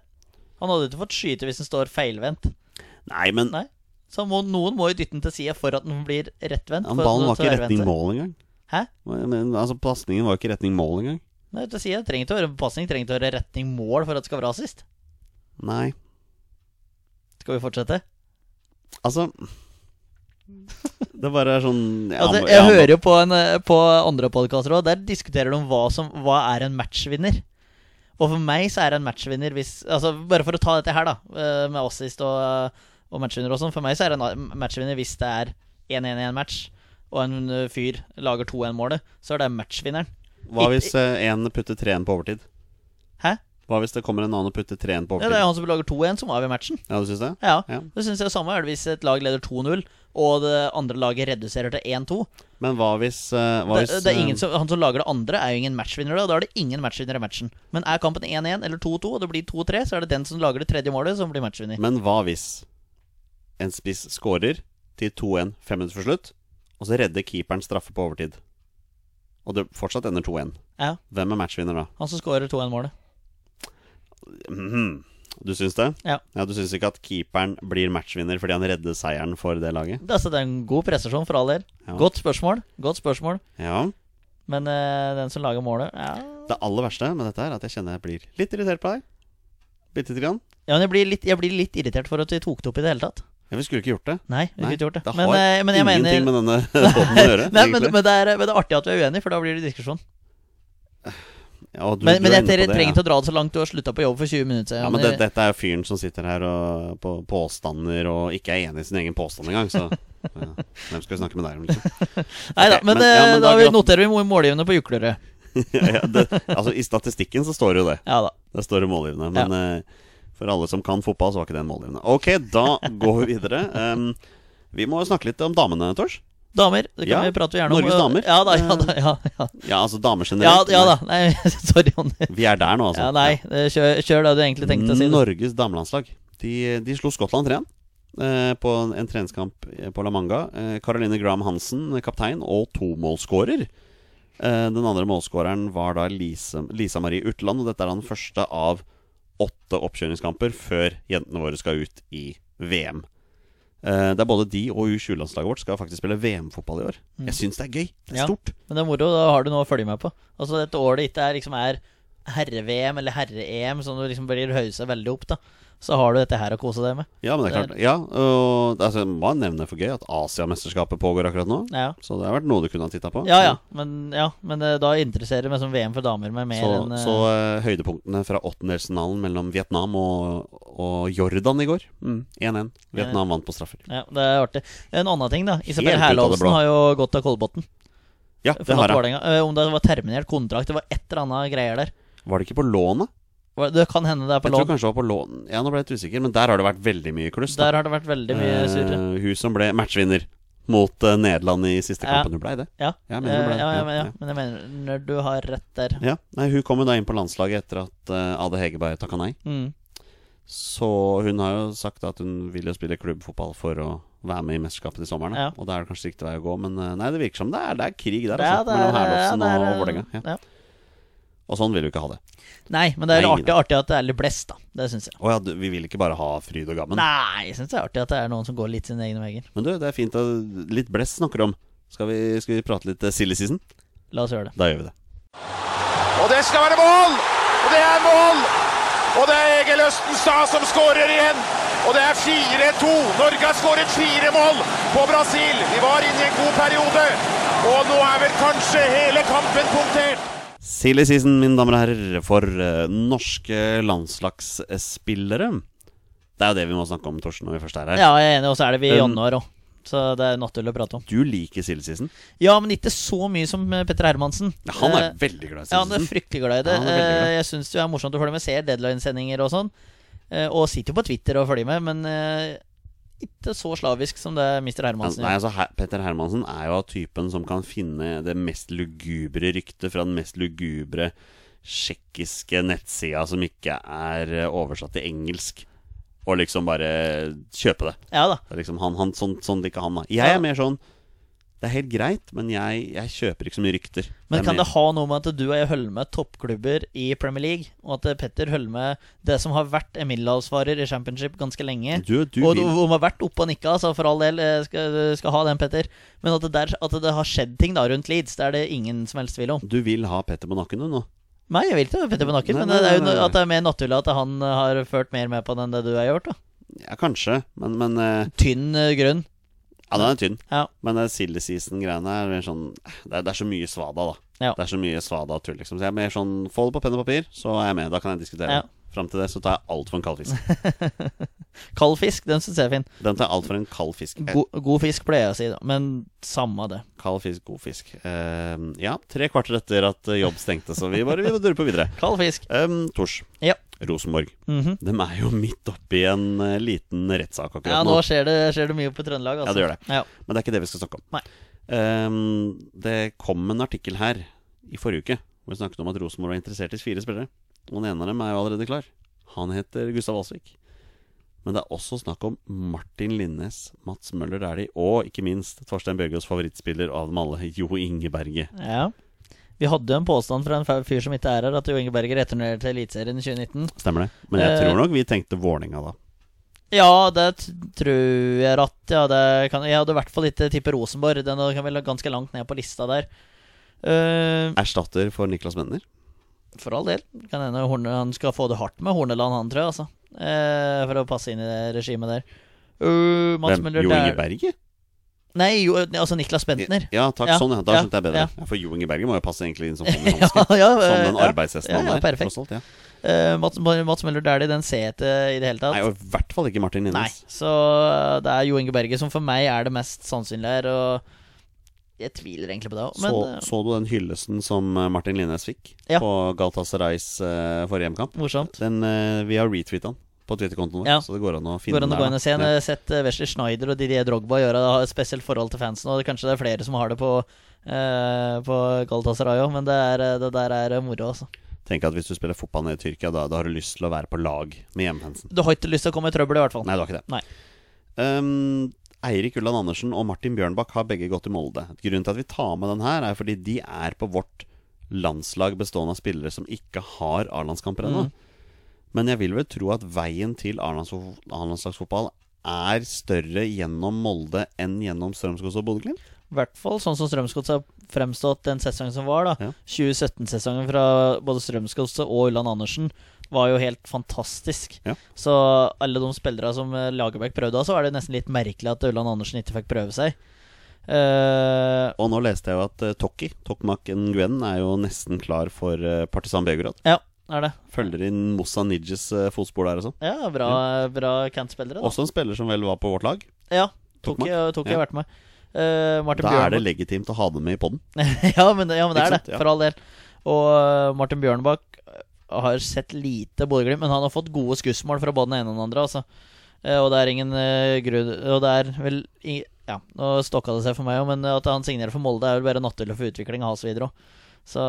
Han hadde ikke fått skyte hvis han står feilvendt. Nei, men Nei. Så må, noen må jo dytte den til sida for at den blir rettvendt. ja, for at ballen den var ikke skal i være retning vendt. mål engang. Hæ? Men, altså, Pasningen var jo ikke i retning mål engang. Nei, til sida. Trenger ikke å være passning, trenger ikke å være retning mål for at det skal være assist. Nei. Skal vi fortsette? Altså Det bare er sånn ja, altså, må- jeg ja, må- hører jo på, en, eh, på andre podkaster òg. Der diskuterer de om hva, som, hva er en matchvinner. Og for meg så er en matchvinner hvis altså Bare for å ta dette her, da, eh, med oss sist og, og matchvinner og sånn. For meg så er en a- matchvinner hvis det er 1-1-1-match, og en eh, fyr lager 2-1-målet. Så er det matchvinneren. Hva hvis eh, en putter treen på overtid? Hæ? Hva hvis det kommer en annen og putter treen på Ja, overtid? det er Ja, han som lager 2-1, som avgjør matchen. du syns det? Ja. Ja. Det syns jeg er samme er det hvis et lag leder 2-0, og det andre laget reduserer til 1-2. Men hva hvis, eh, hva Det, hvis det er eh, ingen som, han som lager det andre, er jo ingen matchvinner. Da, da er det ingen matchvinner i matchen. Men er kampen 1-1 eller 2-2, og det blir 2-3, så er det den som lager det tredje målet, som blir matchvinner. Men hva hvis en spiss scorer til 2-1 fem minutter for slutt, og så redder keeperen straffe på overtid? Og det fortsatt ender 2-1. Ja. Hvem er matchvinner da? Han som scorer 2-1-målet. Mhm. Du syns det? Ja. Du syns ikke at keeperen blir matchvinner fordi han redder seieren for det laget? Det er altså det er en god prestasjon for all del. Ja. Godt spørsmål. Godt spørsmål. Ja. Men eh, den som lager målet ja. Det aller verste med dette er at jeg kjenner jeg blir litt irritert på deg. Bitte lite grann. ja, men jeg blir, litt, jeg blir litt irritert for at vi tok det opp i det hele tatt. Ja, vi skulle ikke gjort det. Nei, vi Nei, kunne ikke gjort det. Det Men, har eh, men jeg ingenting med mener denne båten å gjøre. Nei, men, egentlig. men, det er, men det er artig at vi er uenige, for da blir det diskusjon. Ja, du- Men, du men er jeg inne på det, trenger ja. ikke å dra det så langt. Du har slutta på jobb for 20 minutter siden. Ja, men det, dette er jo fyren som sitter her og, på påstander og ikke er enig i sin egen påstand engang, så ja, hvem skal vi snakke med deg om, liksom? Neida, ok, men, men- ja, eh, men da da vi grat- noterer vi målgivende på Juklerød. ja, det, altså, I statistikken så står det jo det. Ja da. Det står det målgivende. Men eh, for alle som kan fotball, så var ikke det en målgivende. Ok, da går vi videre. Em, vi må jo snakke litt om damene, Tors. Damer, det kan Ja, vi prate gjerne om. Norges damer. Ja da, ja da. Ja, ja. Ja, altså damer ja, generelt. ja da. Nei, sorry, Jonny. Vi er der nå, altså. Ja, nei, eh, kjør, kjør det du egentlig tenkte å si. da. Norges damelandslag. De, de slo Skottland 3-1 eh, på en, en treningskamp eh, på La Manga. Eh, Caroline Graham Hansen, eh, kaptein, og tomålsskårer. Eh, den andre målskåreren var da Lise, Lisa Marie Utland, og dette er da den første av åtte oppkjøringskamper før jentene våre skal ut i VM. Eh, det er både de og U20-landslaget vårt skal faktisk spille VM-fotball i år. Jeg syns det er gøy. Det er Mm. Ja. stort. Men det er moro, da har du noe å følge med på. Altså dette året det ikke er, liksom, er herre-VM eller herre-EM, som du liksom blir hausa veldig opp, da. Så har du dette her å kose deg med. Ja, men det er klart. Ja, og altså, jeg må nevne for gøy at Asiamesterskapet pågår akkurat nå. Ja ja. Så det har vært noe du kunne ha titta på. Ja, ja. Men, ja, men eh, da interesserer det meg som VM for damer meg mer så, enn eh, så eh, høydepunktene fra åttendelsfinalen mellom Vietnam og, og Jordan i går. Mm, 1-1. Vietnam vant på straffer. Ja, det er artig. En annen ting, da. Isabel Helt ut av det Herlovsen blå. har jo gått av Kolbotn. Ja, det forlatt har jeg. Vålerenga. Eh, Om det var terminert kontrakt, det var et eller annet greier der. Var det ikke på lånet? Hva- Det kan hende det er på Jeg tror lån. kanskje det var på lån. Ja, nå ble jeg litt usikker, men der har det vært veldig mye kluss. da. Der har det vært veldig mye surre. Eh, hun som ble matchvinner mot eh, Nederland i siste Ja. kampen. Hun blei det. Ja. jeg mener det Eh, ble- ja, ja, ja, men, ja, ja. men jeg mener når du har rett der. Ja, nei, Hun kom jo da inn på landslaget etter at eh, Ade Hegerberg takka nei. Mm. Så hun har jo sagt at hun vil jo spille klubbfotball for å være med i mesterskapet til sommeren. da. Ja. Og da er det kanskje riktig vei å gå, men eh, nei, det virker som det er, det er krig der, Ja, altså. det er- mellom Herlofsen ja, det er- og Vålerenga. Ja. ja. Og sånn vil vi ikke ha det. Nei, men det er Nei, artig, artig at det er litt blest, da. Det syns jeg. Å ja, du- vi vil ikke bare ha fryd og gammen. Nei, jeg syns det er artig at det er noen som går litt sine egne veier. Men du, det er fint at litt blest snakker om. Skal vi, skal vi prate litt eh, silly season? La oss gjøre det. Da gjør vi det. Og det skal være mål! Og det er mål! Og det er Egil Østenstad som skårer igjen. Og det er 4-2. Norge har skåret fire mål på Brasil. Vi var inne i en god periode. Og nå er vel kanskje hele kampen punktert. Silly season, mine damer og herrer, for eh, norske landslagsspillere. Det er jo det vi må snakke om, Torsten, når vi først er her. Ja, jeg er enig, og så er det vi i Um, januar òg. Så det er naturlig å prate om. Du liker silly season. Ja, men ikke så mye som eh, Petter Hermansen. Ja, Han er Eh, veldig glad i Ja, silly han er season. fryktelig glad i det. Ja, han er veldig glad. Eh, jeg syns det er morsomt å følge med. Ser deadline-sendinger og sånn. Eh, Og sitter jo på Twitter og følger med, men eh, ikke så slavisk som det Mr. Hermansen Nei, gjør. altså Her- Petter Hermansen er jo av typen som kan finne det mest lugubre ryktet fra den mest lugubre tsjekkiske nettsida som ikke er eh, oversatt til engelsk, og liksom bare kjøpe det. Ja da. Det er liksom han, han sånn, sånn liker han, da. Jeg Ja. er mer sånn Det er helt greit, men jeg, jeg kjøper ikke så mye rykter. Men er kan mer- det ha noe med at du og jeg holder med toppklubber i Premier League, og at eh, Petter holder med det som har vært en middelhavsfarer i championship ganske lenge? du, du og vil, om har vært oppe og nikka, altså for all del, eh, skal, skal ha den, Petter. Men at det, der, at det har skjedd ting da rundt Leeds, det er det ingen som helst tvil om. du vil ha Petter på nakken, du, nå. Nei, jeg vil ikke ha Petter på nakken, Nei, men det nei, er jo nei, no- nei. at det er mer naturlig at han eh, har ført mer med på den enn det du har gjort. da Ja, kanskje, men, men eh, Tynn eh, grunn. Ja, den er tynn. Ja. Men det silly season-greiene er mer sånn det er, det er så mye svada, da. Ja. Det er så mye svada og tull, liksom. Så jeg er mer sånn Få det på penn og papir, så er jeg med. Da kan jeg diskutere. Ja. Fram til det så tar jeg alt for en kald fisk. Kald fisk, den syns jeg er fin. Den tar jeg alt for en kald fisk. Eh, God, god fisk pleier jeg å si, da. Men samme det. Kald fisk, god fisk. Eh, ja, tre kvarter etter at eh, jobb stengte, så vi bare vi durer på videre. Kald fisk. Um, Tors. Ja. Rosenborg. Mhm. De er jo midt oppi en eh, liten rettssak akkurat Ja, nå nå. skjer det, skjer det mye på Trøndelag. Altså. Ja, det gjør det. Ja. Men det er ikke det vi skal snakke om. Nei. Ehm, det kom en artikkel her i forrige uke hvor vi snakket om at Rosenborg var interessert i fire spillere. Og den ene av dem er jo allerede klar. Han heter Gustav Alsvik. Men det er også snakk om Martin Linnes, Mats Møller Dæhlie og ikke minst Torstein Bjørgaas favorittspiller av dem alle, Jo Inge Berge. Ja. Vi hadde jo en påstand fra en fa- fyr som ikke er her, at Jo Inge Berger returnerer til Eliteserien i 2019. Stemmer det? Men jeg Eh. tror nok vi tenkte Vålinga da. Ja, det t- tror jeg ratt. Ja, det kan, jeg hadde i hvert fall ikke tippet Rosenborg. Den kan vel ganske langt ned på lista der. Eh, Erstatter for Niklas Menner. for all del. Kan hende Horne, han skal få det hardt med Horneland, han, tror jeg. Altså. Eh, for å passe inn i det regimet der. Eh, Mats Hvem? Møller Jo Inge Dæhlie Berge? Nei, jo, altså Niklas Bentner. Ja, takk. Ja, Sånn, ja. Da ja, skjønte jeg bedre. ja. Ja. for Jo Inge Berge må jo passe egentlig inn som hånd i Ja, hanske. ja, Som eh, den ja. arbeidshesten Ja, han ja, er. perfekt. tross alt, ja. Eh, Mats, Mats Møller Dæhlie, den ser jeg ikke i det hele tatt. Nei, og i hvert fall ikke Martin Nei, Linnes. så eh, det er Jo Inge Berge som for meg er det mest sannsynlige her, og jeg tviler egentlig på det òg, men så, eh, så du den hyllesten som eh, Martin Linnes fikk Ja. på Galatasarais uh, forrige hjemmekamp? morsomt. Den, eh, vi har retweeta den på Twitter-kontoen vår, Ja. så det går an å finne Går an den å gå der, inn da. og se. Jeg Ja. har sett eh, Wesley Schneider og Didier Drogba gjøre det, har et spesielt forhold til fansen, og kanskje det er flere som har det på, eh, på Galatasaray òg, men det, er, eh, det der er eh, moro, altså. Tenk at hvis du spiller fotball nede i Tyrkia, da, da har du lyst til å være på lag med hjemfansen. Du har ikke lyst til å komme i trøbbel, i hvert fall. Nei, du har ikke det. Nei. Um, Eirik Ulland Andersen og Martin Bjørnbakk har begge gått i Molde. Grunnen til at vi tar med den her, er fordi de er på vårt landslag bestående av spillere som ikke har A-landskamper ennå. Mm. Men jeg vil vel tro at veien til A-lands- A-landslagsfotball er større gjennom Molde enn gjennom Strømsgods og Bodø-Glimt. I hvert fall sånn som Strømsgods har fremstått den sesongen som var, da. Ja. 2017-sesongen fra både Strømsgodset og Ulland Andersen var jo helt fantastisk. Ja. Så alle de spillere som eh, Lagerbäck prøvde av, så var det nesten litt merkelig at Ulland Andersen ikke fikk prøve seg. Eh, Og nå leste jeg jo at eh, Tokki, Tokmak Nguyen, er jo nesten klar for eh, Partisan Beograd. ja, er det. Følger inn Mossa Nidjes eh, fotspor der og sånn. Ja, bra, bra kantspillere, da. Også en spiller som vel var på vårt lag. ja, Tokmak. tok jeg, tok jeg Ja. vært med. Eh, Martin Da er Bjørnbakk det legitimt å ha dem med i poden. ja, men, ja, men det Ikke er det, sant? Ja. for all del. Og øh, Martin Bjørnbakk øh, har sett lite Bodø-Glimt, men han har fått gode skussmål fra både den ene og den andre. Altså. Eh, Og det er ingen øh, grunn Og det er vel i- Ja, nå stokka det seg for meg òg, men at han signerer for Molde, er vel bare naturlig for utvikling av hans videre òg. Så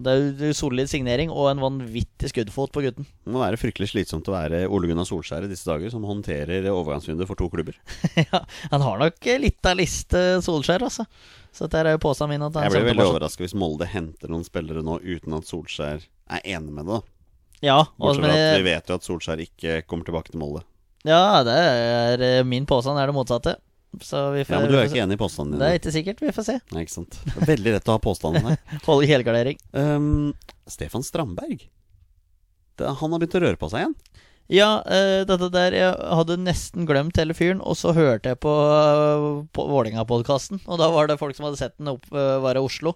det er jo solid signering og en vanvittig skuddfot på gutten. Det må være fryktelig slitsomt å være Ole Gunnar Solskjær i disse dager, som håndterer overgangsvinduet for to klubber. ja, han har nok eh, litt av liste, Solskjær, altså. Så dette er jo påstanden min. At han Jeg blir kommer veldig tilbake. overraska hvis Molde henter noen spillere nå uten at Solskjær er enig med det. da. Ja, og, Bortsett fra at vi men, vet jo at Solskjær ikke kommer tilbake til Molde. ja, det er eh, min påstand er det motsatte. Så vi får, Ja, Men du vi er får ikke enig i påstanden se. din? Det er ikke sikkert. Vi får se. Nei, ikke sant? Det er veldig lett å ha påstanden her. Holde helgardering. Um, Stefan Strandberg. Det, han har begynt å røre på seg igjen. Ja, eh, dette der Jeg hadde nesten glemt hele fyren, og så hørte jeg på, eh, på Vålerenga-podkasten. Og da var det folk som hadde sett den opp eh, være i Oslo.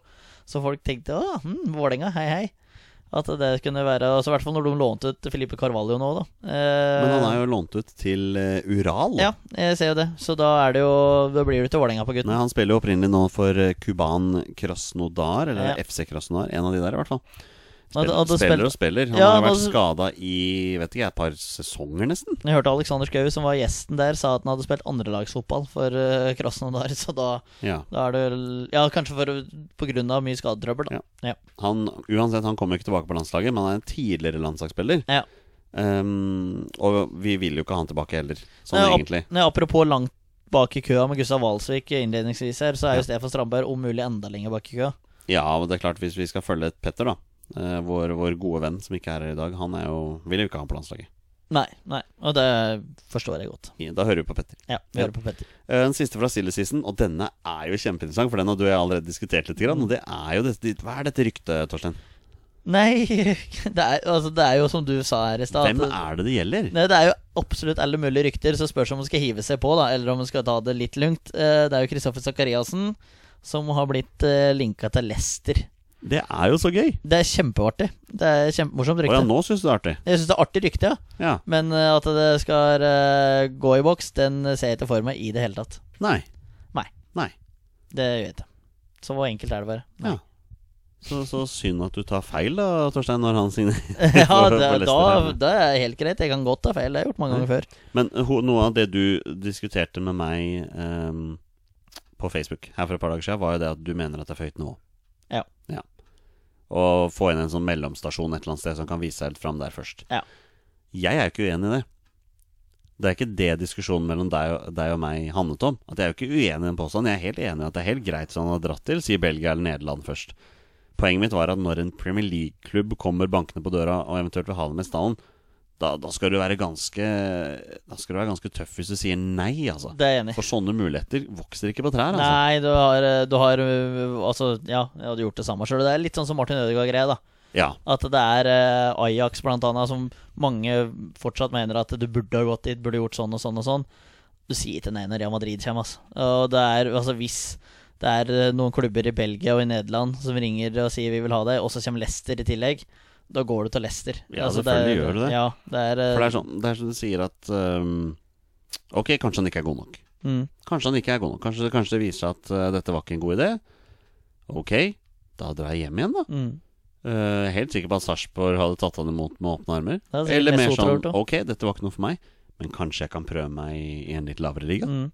Så folk tenkte å, hm, Vålerenga, hei, hei. At det kunne være altså, I hvert fall når de lånte ut Filipe Carvalho nå, da. Eh, Men han er jo lånt ut til eh, Ural. Ja, jeg ser jo det. Så da er det jo Da blir det til Vålerenga på gutten. Nei, Han spiller jo opprinnelig nå for eh, Kuban Krasnodar, eller Ja. FC Krasnodar. En av de der, i hvert fall. Og- Spiller, og det spiller spill- og spiller. Han Ja, har vært nå- skada i vet ikke, jeg, et par sesonger, nesten. Jeg hørte Alexander Schou, som var gjesten der, sa at han hadde spilt andrelagsfotball for uh, Krasnodar. Så da, Ja. da er det vel- Ja, kanskje for, på grunn av mye skadetrøbbel, da. Ja. Han, uansett, han kommer jo ikke tilbake på landslaget, men han er en tidligere landslagsspiller. Ja. Um, og vi vil jo ikke ha han tilbake heller, sånn Nei, ap- egentlig. Nei, apropos langt bak i køa med Gustav Walsvik innledningsvis her, så er Ja. jo Stefan Strandberg om mulig enda lenger bak i køa. Ja, men det er klart, hvis vi skal følge et Petter, da. eh, vår, vår gode venn som ikke er her i dag, han er jo, vil jo ikke ha han på landslaget. Nei, nei, og det forstår jeg godt. I- Da hører vi på Petter. Ja, vi Ja. hører på Petter. Eh, Den siste fra Silly Season, og denne er jo kjempeinteressant, for den har du og jeg allerede diskutert litt. Grann, og det er jo dette, hva er dette ryktet, Torstein? Nei, det er, altså, det er jo som du sa her i stad. Hvem at- er det det gjelder? Nei, det er jo absolutt alle mulige rykter, så spørs om man skal hive seg på, da, eller om man skal ta det litt lugnt. Eh, Det er jo Kristoffer Sakariassen som har blitt eh, linka til Leicester. Det er jo så gøy! Det er kjempeartig. Det er kjempemorsomt Å ja, rykte. nå syns du det er artig. Jeg syns det er artig rykte, ja. Ja. Men eh, at det skal eh, gå i boks, den ser jeg ikke for meg i det hele tatt. Nei. Nei. Nei. Det gjør jeg ikke. Så hvor enkelt er det bare? Ja. Så, så synd at du tar feil, da, Torstein, når han signerer. ja, For- for det, Leicester da, her, ja. det er helt greit. Jeg kan godt ta feil. Det har jeg gjort mange ganger før. Men ho, noe av det du diskuterte med meg ehm, på Facebook her for et par dager siden, var jo det at du mener at det er for høyt nivå. Ja. ja. Og få inn en sånn mellomstasjon et eller annet sted som kan vise seg helt fram der først. Ja. Jeg er jo ikke uenig i det. Det er ikke det diskusjonen mellom deg og, deg og meg handlet om. At Jeg er jo ikke uenig i den påstanden. Jeg er helt enig i at det er helt greit som han har dratt til, sier Belgia eller Nederland først. Poenget mitt var at når en Premier League-klubb kommer bankende på døra og eventuelt vil ha dem i stallen, da, da skal du være ganske Da skal du være ganske tøff hvis du sier nei, altså. Det er jeg enig i. For sånne muligheter vokser ikke på trær, altså. Nei, du har, eh, du har eh, Altså, ja, jeg hadde gjort det samme sjøl. Det er litt sånn som Martin Ødegaard-greia, da. Ja. At det er eh, Ajax blant annet som mange fortsatt mener at du burde ha gått dit, burde gjort sånn og sånn og sånn. Du sier ikke nei når Real Madrid kommer, altså. Og det er, altså hvis det er eh, noen klubber i Belgia og i Nederland som ringer og sier vi vil ha deg, og så kommer Leicester i tillegg, da går du til Leicester. Altså, Ja, er- selvfølgelig gjør du det. Ja, det er, eh, For det er sånn, det er som du sier at ehm, Ok, kanskje han ikke er god nok. mm, Kanskje han ikke er god nok. Kanskje, kanskje det viser seg at eh, dette var ikke en god idé. Ok, da drar jeg hjem igjen, da. mm. Eh, helt sikker på at Sarpsborg hadde tatt han imot med åpne armer. Altså, Det er sikkert Eller mer Mesut har sånn gjort det. Ok, dette var ikke noe for meg, men kanskje jeg kan prøve meg i en litt lavere liga. Mm.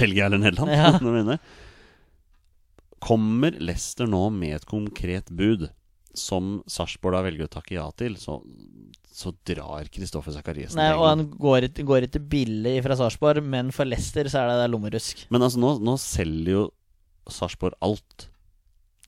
Belgia eller Nederland. Ja. når du vinner. Kommer Leicester nå med et konkret bud som Sarpsborg da velger å takke ja til, så, så drar Kristoffer Sakariassen Nei, og han går ikke, går ikke billig fra Sarpsborg, men for Leicester så er det der lommerusk. Men altså, nå, nå selger jo Sarpsborg alt.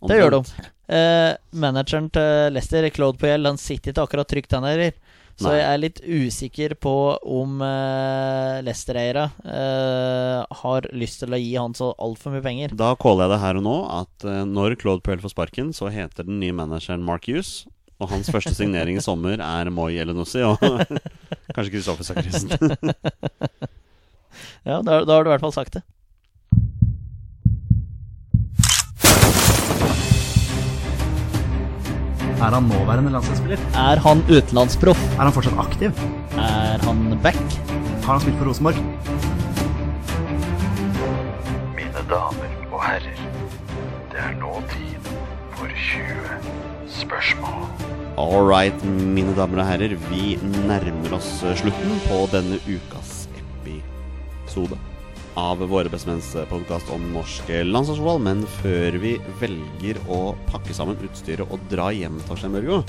Det gjør de. Omtrent. Eh, manageren til Leicester, Claude Poyel, han sitter ikke akkurat trygt, han heller. Så Nei. jeg er litt usikker på om eh, Leicester-eiere eh, har lyst til å gi han så altfor mye penger. Da caller jeg det her og nå at eh, når Claude Puel får sparken, så heter den nye manageren Mark Hughes. Og hans første signering i sommer er Moi Elenossi og kanskje Kristoffer Sakariassen. Ja, da, da har du i hvert fall sagt det. Er han nåværende landslagsspiller? Er han utenlandsproff? Er han fortsatt aktiv? Er han back? Har han spilt for Rosenborg? Mine damer og herrer, det er nå tid for 20 spørsmål. All right, mine damer og herrer. Vi nærmer oss eh, slutten på denne ukas episode. av våre Bestemenns podkast om norsk landslagsfotball. Men før vi velger å pakke sammen utstyret og dra hjem, Torstein Børgo,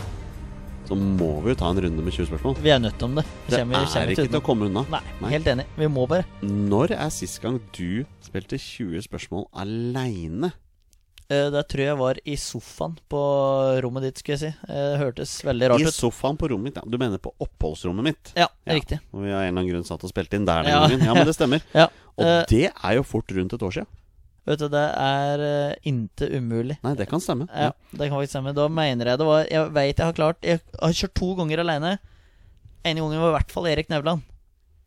så må vi jo ta en runde med 20 spørsmål. Vi er nødt om det. Vi Det kommer- vi kommer er ikke til å utenom. komme unna. Nei, helt enig. Vi må bare. Når er sist gang du spilte 20 spørsmål aleine? Eh, Der tror jeg var i sofaen på rommet ditt, skulle jeg si. Eh, Det hørtes veldig I rart ut. sofaen på rommet mitt? Ja. Du mener på oppholdsrommet mitt? Ja, Ja. riktig. Og vi av en eller annen grunn satt og spilte inn der den Ja. gangen. Ja, men det stemmer. Ja. Og Eh, det er jo fort rundt et år siden. Vet du, det er eh, intet umulig. Nei, det kan stemme. Ja, det kan faktisk stemme. Da mener jeg det var Jeg veit jeg har klart Jeg har kjørt to ganger aleine. En gang var i hvert fall Erik Nevland.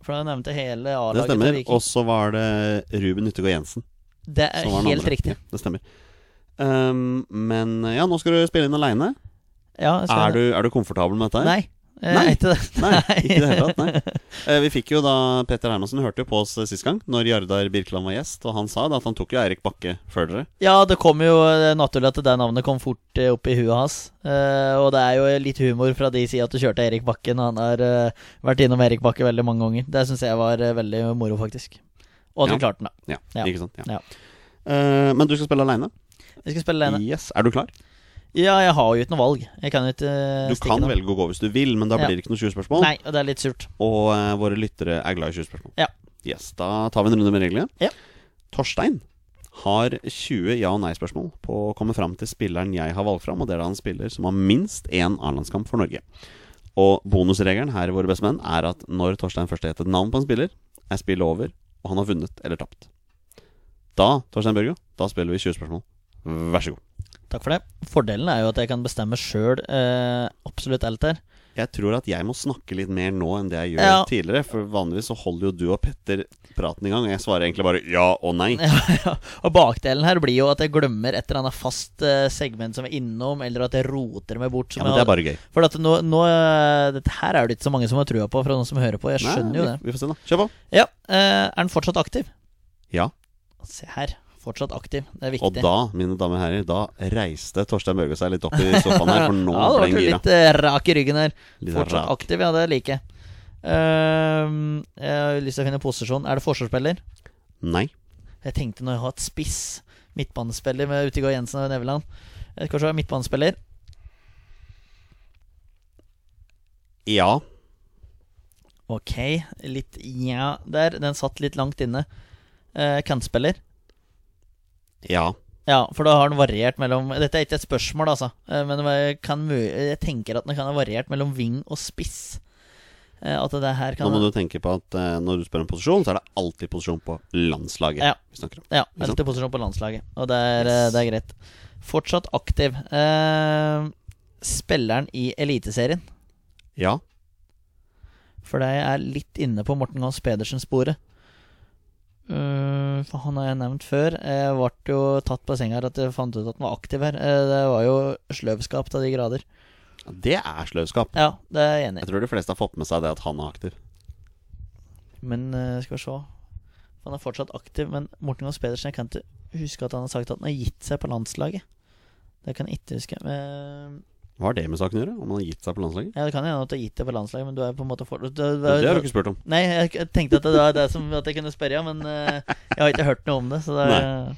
For da nevnte jeg hele Det A-laget til stemmer. Viking. Og så var det Ruben Yttergård Jensen. Det er som var den helt andre. riktig. Ja, det stemmer. Ehm, men ja, nå skal du spille inn aleine. Ja, jeg Er, skal- du- er du komfortabel med dette? her? Nei. Jeg Nei. er ikke det. Nei, ikke i det hele tatt. Nei. Eh, Vi fikk jo da Petter Hermansen hørte jo på oss eh, sist gang, når Jardar Birkeland var gjest, og han sa da at han tok jo Eirik Bakke før dere. Ja, det kom jo eh, naturlig at det der navnet kom fort eh, opp i huet hans. Eh, og det er jo litt humor fra de sida at du kjørte Erik Bakken. Han har eh, vært innom Erik Bakke veldig mange ganger. Det syns jeg var eh, veldig moro, faktisk. Og Ja. at du klarte den, da. Ja, Ja. ikke sant? Ja. Ja. Eh, men du skal spille aleine? Vi skal spille alene. Yes. Er du klar? Ja, jeg har jo ikke noe valg. Jeg kan jo ikke eh, Du stikke kan noe. velge å gå hvis du vil, men da Ja. blir det ikke noe 20-spørsmål. Nei, og det er litt surt. Og eh, våre lyttere er glad i 20-spørsmål. Ja. Yes, Da tar vi en runde med reglene. Ja. Torstein har 20 ja- og nei-spørsmål på å komme fram til spilleren jeg har valgt fram, og det er da en spiller som har minst én A-landskamp for Norge. Og bonusregelen her i Våre beste menn er at når Torstein først heter et navn på en spiller, er spillet over, og han har vunnet eller tapt. Da, Torstein Børgo, da spiller vi 20 spørsmål. Vær så god. Takk for det. Fordelen er jo at jeg kan bestemme sjøl eh, absolutt alt her. Jeg tror at jeg må snakke litt mer nå enn det jeg gjør Ja. tidligere. For vanligvis så holder jo du og Petter praten i gang, og jeg svarer egentlig bare ja og nei. Ja, ja. Og bakdelen her blir jo at jeg glemmer et eller annet fast eh, segment som er innom, eller at jeg roter meg bort. Ja, Som men jeg det er har- bare gøy. For at nå, nå eh, Dette her er det ikke så mange som har trua på, fra noen som hører på. Jeg Nei, skjønner jo det. Vi, vi får se, da. Kjør på. Ja, eh, Er den fortsatt aktiv? Ja. Se her. Fortsatt aktiv. Det er viktig. Og da, mine damer og herrer, da reiste Torstein Børge seg litt opp i sofaen her, for nå ja, det ble han ble gira. litt eh, rak i ryggen her. Litt Fortsatt rar. aktiv, ja, det liker jeg. Ehm, jeg har lyst til å finne posisjon. Er det forsvarsspiller? Nei. Jeg tenkte når jeg har et spiss midtbanespiller med Utegård Jensen og Neveland Eh, Kanskje jeg er midtbanespiller? Ja. Ok, litt ja der. Den satt litt langt inne. Eh, Kantspiller? Ja. Ja, for da har den variert mellom Dette er ikke et spørsmål, altså. Eh, Men det var- kan, mu- jeg tenker at den kan ha variert mellom ving og spiss. Eh, At det her kan Nå må du tenke på at eh, når du spør om posisjon, så er det alltid posisjon på landslaget Ja. vi snakker om. Ja, sant? alltid posisjon på landslaget, og det er, eh, Yes. det er greit. Fortsatt aktiv. Eh, spilleren i Eliteserien, Ja. for jeg er litt inne på Morten Gahns Pedersen-sporet. Eh, for han har jeg nevnt før. Jeg ble jo tatt på senga her at jeg fant ut at han var aktiv her. Eh, det var jo sløvskap til de grader. Det er sløvskap. Ja, det er jeg enig Jeg i. tror de fleste har fått med seg det at han er aktiv. Men eh, skal vi se Han er fortsatt aktiv, men Morten Gahns Pedersen Jeg kan ikke huske at han har sagt at han har gitt seg på landslaget. Det kan jeg ikke huske. Eh, Hva har det med saken å gjøre? Om han har gitt seg på landslaget? Ja, det kan hende at du har gitt det på landslaget, men du er på en måte for... Det, Det har du ikke spurt om. Nei, jeg k- tenkte at det var det som at jeg kunne spørre, ja, men eh, jeg har ikke hørt noe om det. Så da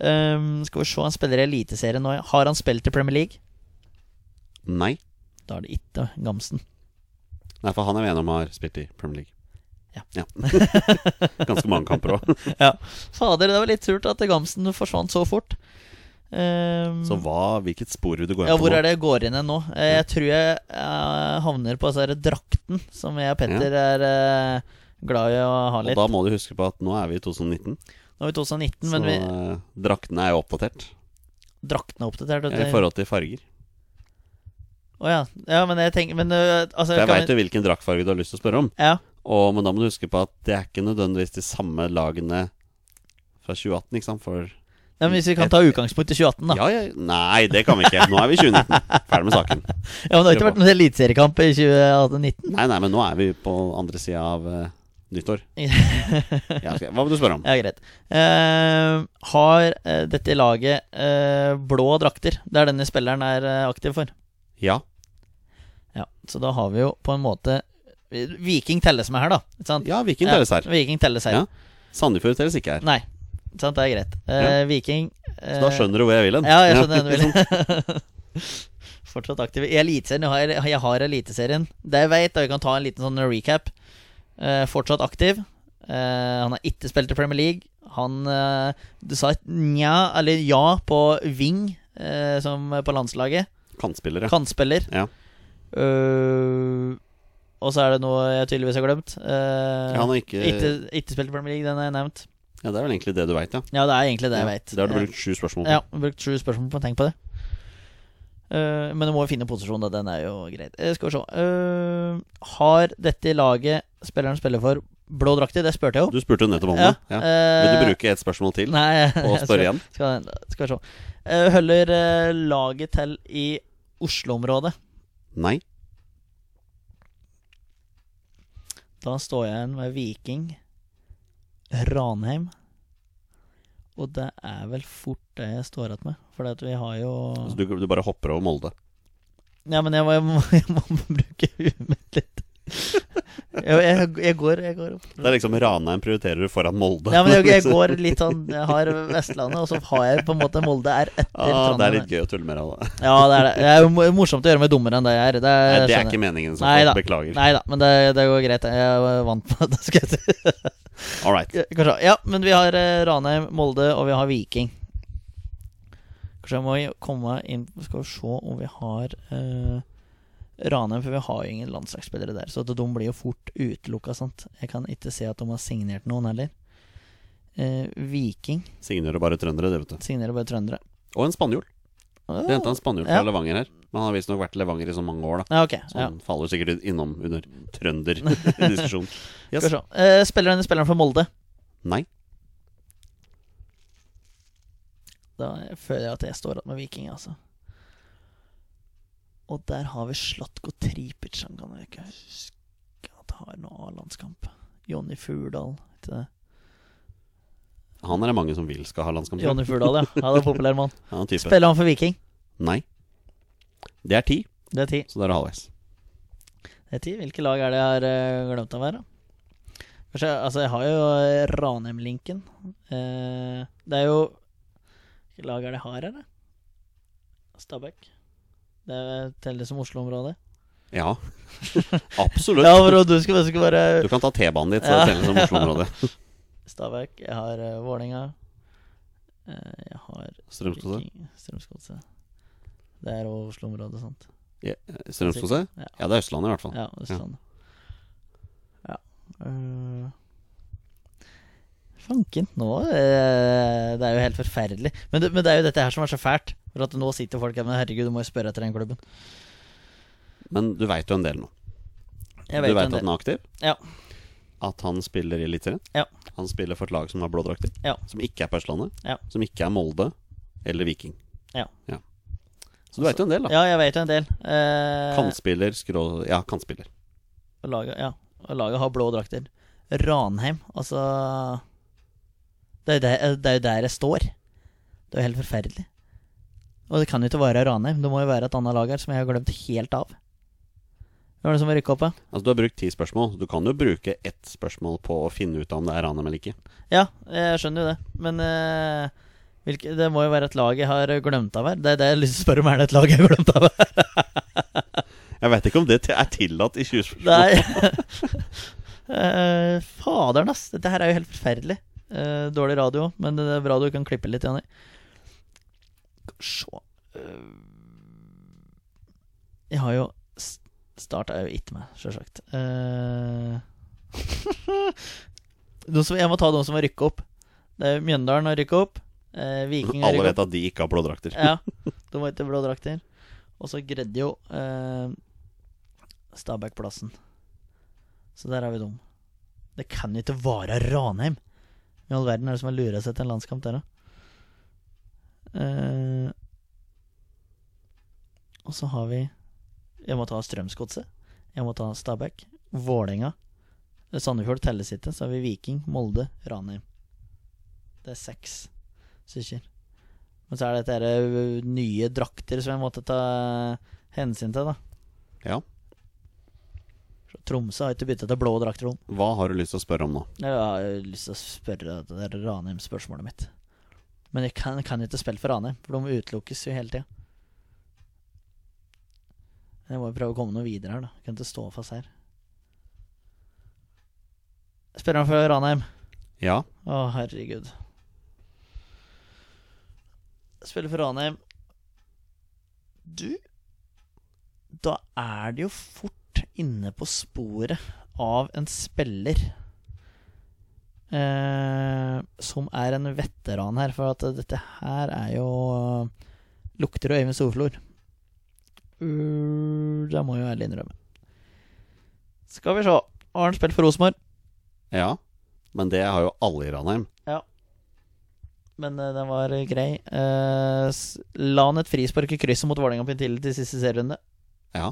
Ehm, Skal vi se, han spiller i Eliteserien nå. ja. Har han spilt i Premier League? Nei. Da er det ikke Gamsen. Nei, for han er vi enige om har spilt i Premier League. Ja. Ganske mange kamper òg. Fader, det var litt surt at Gamsen forsvant så fort. Ehm, Så hva, hvilket spor vil du gå inn ja, hvor på? er det jeg går inn hen nå? Eh, Jeg tror jeg eh, havner på altså, drakten, som jeg og Petter er eh, glad i å ha nå? Og litt. da må du huske på at nå er vi i 2019, Nå er vi 2019, så men vi, eh, draktene er jo oppdatert. drakten er oppdatert. vet I du. forhold til farger. Å ja. ja, men jeg tenker Men øh, altså For jeg kan veit jo hvilken draktfarge du har lyst til å spørre om, vi- ja. og, men da må du huske på at det er ikke nødvendigvis de samme lagene fra 2018, ikke sant? For ja, men Hvis vi kan ta utgangspunkt i 2018, da. Ja, ja, ja, Nei, det kan vi ikke. Nå er vi i 2019. Ferdig med saken. men Det har ikke vært noen eliteseriekamp i 2018-19. Nei, nei, men nå er vi på andre sida av eh, nyttår. Ja, ok. Hva vil du spørre om? Ja, greit. Eh, har eh, dette laget eh, blå drakter? Det er denne spilleren er eh, aktiv for. Ja. Ja, Så da har vi jo på en måte Viking telles med her, da. Ikke sant? Ja, Viking deres her. Viking telles her. Ja. Sandefjord teller ikke her. Nei. Sant, det er greit. Eh, Viking Så da skjønner du hvor jeg vil hen. Ja, jeg skjønner den vel. Fortsatt aktiv. I Eliteserien, jeg har, jeg har Eliteserien. Det jeg vet, og vi kan ta en liten sånn recap. Eh, fortsatt aktiv. Eh, han har ikke spilt i Premier League. Han eh, Du sa et nja, eller ja, på wing eh, som på landslaget. Kantspillere. Kantspiller. Ja. Eh, og så er det noe jeg tydeligvis har glemt. Eh, Ja, han har ikke ikke, ikke spilt i Premier League, den har jeg nevnt. Ja, det er vel egentlig det du veit, ja. Ja, det er egentlig det jeg Ja, vet. Det har du Eh, brukt sju spørsmål på. ja, brukt sju spørsmål på å tenke på det. Eh, men du må jo finne posisjonen, da. Den er jo greit. Eh, skal vi se. Eh, har dette laget spilleren spiller for, blå drakter? Det spurte jeg jo. Du spurte jo nettopp om det. Ja. Vil du bruke ett spørsmål til? eh, Nei, Og spørre jeg skal, igjen? skal, skal vi se. Eh, holder eh, laget til i Oslo-området? Nei. Da står jeg igjen med Viking, Ranheim. Og det er vel fort det jeg står igjen med. For at vi har jo Så du, du bare hopper over Molde. Ja, men jeg må, jeg må, jeg må bruke huet mitt litt. Jeg, jeg, jeg går jeg går opp. Det er liksom Ranheim prioriterer du foran Molde. Ja, men jeg, jeg går litt sånn Jeg har Vestlandet, og så har jeg på en måte Molde er etter ah, det er litt Trondheim. Eh, gøy å tulle med det. Ja, det er det. Det er jo mo- morsomt å gjøre meg dummere enn det jeg er. Det, Nei, det er skjønner ikke jeg. meningen. Så Nei da. Beklager. Nei da, men det, det går greit. Jeg er vant med det. skal jeg si All right. Kanskje, Ja, men vi har eh, Ranheim, Molde, og vi har Viking. Kanskje jeg må jo komme inn Skal vi se om vi har eh, Ranheim, for vi har jo ingen landslagsspillere der. Så at de blir jo fort utelukka, sant. Jeg kan ikke se at de har signert noen heller. Eh, Viking Signerer bare trøndere, det, vet du. signerer bare trøndere. Og en spanjol. Ah, Vi henta en spanjol fra Ja. Levanger her. Men han har visstnok vært i Levanger i så mange år, da. ja, ok. Så Ja. han faller sikkert innom under trønderdiskusjonen. Yes. Skal vi se. Eh, spilleren er spilleren for Molde. Nei. Da føler jeg at jeg står igjen med Viking, altså. Og der har vi Slatko Tripic. Han kan jeg ikke huske at har noe A-landskamp. Jonny Furdal. ikke det? Han er det mange som vil skal ha landskamp. tror jeg. Jonny Furdal, ja. Han er populær mann. Han er en type. Spiller han for Viking? Nei. Det er ti, Det er ti. så det er halvveis. Det er ti. Hvilke lag er det jeg har eh, glemt av her, da? Kanskje, altså, jeg har jo eh, Ranheim-linken. Eh, det er jo Hvilke lag er det jeg har her, da? Stabæk. Det er- teller som Oslo-området. Ja. Absolutt. Ja, bro, du skal, du skal bare Du kan ta T-banen dit, så Ja. det teller som Oslo-området. Stabæk, jeg har uh, Vålerenga. Eh, jeg har Strømskose? Viking- Strømsgodset. Det er også Oslo-området, sant? Strømskose? Ja. Ja, det er Østlandet i hvert fall. Ja, Østlandet. Ja. eh, Fanken, nå eh, Det er jo helt forferdelig. Men det, men det er jo dette her som er så fælt. For at nå sitter folk her, men herregud, du må jo spørre etter den klubben. Men du veit jo en del nå. du Jeg vet veit jo at en han del. er aktiv? Ja. At han spiller i Eliteserien? Ja. Han spiller for et lag som har blå drakter? Ja. Som ikke er på Østlandet? Ja. Som ikke er Molde eller Viking? Ja. Så du veit jo en del, da. Ja, jeg vet jo en del. Eh, Kantspiller, skrå... Ja, kantspiller. Og laget, ja. og laget har blå drakter. Ranheim, altså Det er jo der, det er jo der jeg står. Det er jo helt forferdelig. Og det kan jo ikke være Ranheim. Det må jo være et annet lag her som jeg har glemt helt av. Hvem er det som har rykka opp, da? Altså, du har brukt ti spørsmål. Du kan jo bruke ett spørsmål på å finne ut om det er Ranheim eller ikke. Ja, jeg skjønner jo det, men eh, hvilke, det må jo være et lag jeg har glemt av her. Det er det jeg har lyst til å spørre om, er det et lag jeg har glemt av her? Jeg veit ikke om det er tillatt i 20 spørsmål. Nei. Eh, faderen, ass. Dette her er jo helt forferdelig. Eh, dårlig radio, men det er bra du kan klippe litt, Jonny. Skal vi Se Eh, Jeg har jo s- Start er jo ikke med, sjølsagt. Uh, jeg må ta de som har rykka opp. Det er jo Mjøndalen har rykka opp. eh, Viking har Alle rykka vet at de ikke har blå drakter. ja, de var ikke blå drakter. Og så greide jo eh, Stabæk plassen. Så der har vi dem. Det kan jo ikke være Ranheim! I all verden er det som har lura seg til en landskamp der, da. Eh, og så har vi Jeg må ta Strømsgodset. Jeg må ta Stabæk. Vålerenga. Sandefjord telles ikke. Så har vi Viking, Molde, Ranheim. Det er seks stykker. Men så er det dette her, ø, nye eh, drakter som jeg måtte ta hensyn til, da. Ja. Så Tromsø har ikke byttet til blå drakt, Trond. Hva har du lyst til å spørre om nå? Jeg har eh, lyst til å spørre det der Ranheim-spørsmålet mitt. Men jeg kan, kan ikke spille for Ranheim, for de utelukkes jo hele tida. Jeg må jo prøve å komme noe videre her, da. Jeg kan ikke stå fast her. Spør han for Ranheim. Ja, Å, herregud. Spiller for Ranheim. Du Da er det jo fort inne på sporet av en spiller eh, som er en veteran her, for at dette her er jo Lukter jo Øyvind Storflor. Uh, det må jeg jo ærlig innrømme. Skal vi se. Har han spilt for Rosenborg? ja. Men det har jo alle i Ranheim. Men eh, den var eh, grei. Eh, s- la han et frispark i krysset mot Vålerenga Pintilde til siste serierunde? Ja.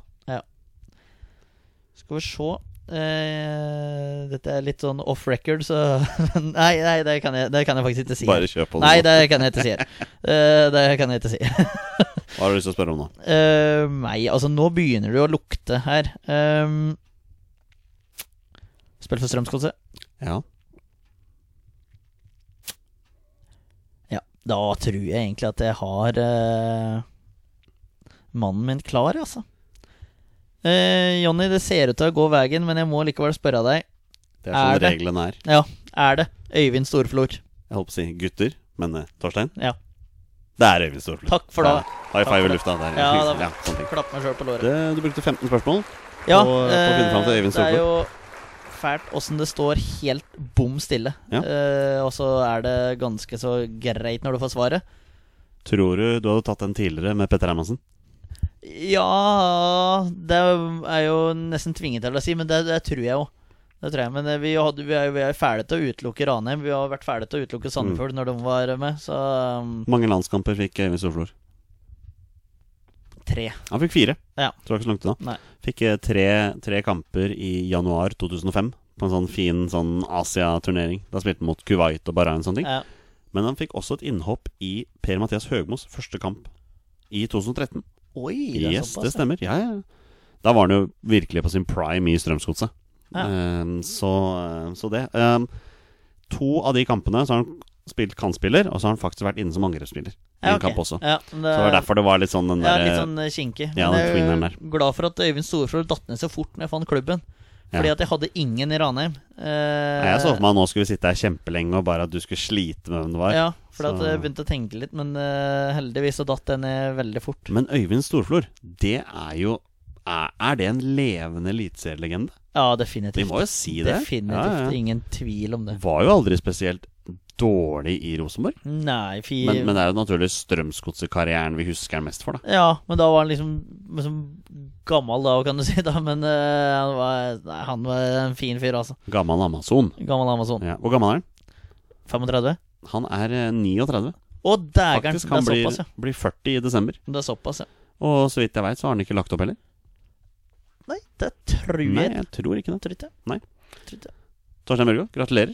Skal vi se Eh, Dette er litt sånn off record, så Nei, nei det, kan jeg, det kan jeg faktisk ikke si. her. Bare kjør på det. Nei, nå. det kan jeg ikke si her. Eh, det kan jeg ikke si. Hva har du lyst til å spørre om nå? Eh, nei, altså nå begynner det jo å lukte her. Um, spill for Strømsgodset. Ja. Ja, da tror jeg egentlig at jeg har eh, mannen min klar, altså. Eh, Jonny, det ser ut til å gå veien, men jeg må likevel spørre deg. Det er sånn Er det? reglene er. Ja, er det Øyvind Storflor? Jeg holdt på å si gutter, men eh, Torstein? Ja. Det er Øyvind Storflot. Takk for det. Ja, high Takk for five i det. lufta. Der. Ja, da- sånne ting. Klapp meg sjøl på låret. Det, du brukte 15 spørsmål. Ja, på- på å finne fram til eh, Øyvind det er jo fælt åssen det står helt bom stille. Ja. Eh, og så er det ganske så greit når du får svaret. Tror du du hadde tatt den tidligere med Petter Hermansen? Ja Det er jo nesten tvinget til å si, men det, det tror jeg jo. Det tror jeg, Men eh, vi, hadde, vi, er, vi er ferdige til å utelukke Ranheim. Vi har vært ferdige til å utelukke Mm. Sandefjord når de var med, så um, Mange landskamper fikk Øyvind Storflor. tre. Han fikk fire. Ja. Det var ikke så langt unna. Nei. Fikk eh, tre, tre kamper i januar 2005 på en sånn fin sånn Asia-turnering. Da spilte han mot Kuwait og Bahrain og sånne ting. Ja. Men han fikk også et innhopp i Per-Mathias Høgmos første kamp i 2013. Oi, det er Yes, det såpass. ja. stemmer. Ja, ja. Da var han jo virkelig på sin prime i Strømsgodset. Ja. Ehm, så, så det. Ehm, to av de kampene så har han spilt kantspiller, og så har han faktisk vært inne som angrepsspiller. I Ja, en kamp ok. også. Ja, men det, Så det var derfor det var litt sånn den ja, der litt sånn eh, kinkig. Ja, Men den jeg er twingeren der. glad for at Øyvind Storfjord datt ned så fort når jeg fant klubben. Ja. Fordi at jeg hadde ingen i Ranheim. Eh, Nei, Jeg så for meg at nå skulle vi sitte her kjempelenge og bare at du skulle slite med hvem det var. Ja, for at Så- jeg begynte å tenke litt, men eh, heldigvis så datt den ned veldig fort. Men Øyvind Storflor, det er jo Er, er det en levende eliteserielegende? Ja, definitivt. Vi må jo si det. Definitivt. Ja, ja. Ingen tvil om det. Var jo aldri spesielt dårlig i Rosenborg. Nei, fi... Men, men det er jo naturligvis Strømsgodset-karrieren vi husker han mest for, da. Ja, men da var han liksom, liksom gammel da, kan du si. da Men eh, han, var, nei, han var en fin fyr, altså. Gammel Amazon. Gammel Amazon. Ja. Hvor gammel er han? 35? Han er eh, 39. Å, dægeren! Faktisk, Det er han blir, såpass, ja. blir 40 i desember. Det er såpass, ja. Og så vidt jeg veit, så har han ikke lagt opp heller. Nei, det tror Nei, jeg jeg tror ikke det. Tror ikke. Nei. Tror ikke. Torstein Børgo, gratulerer.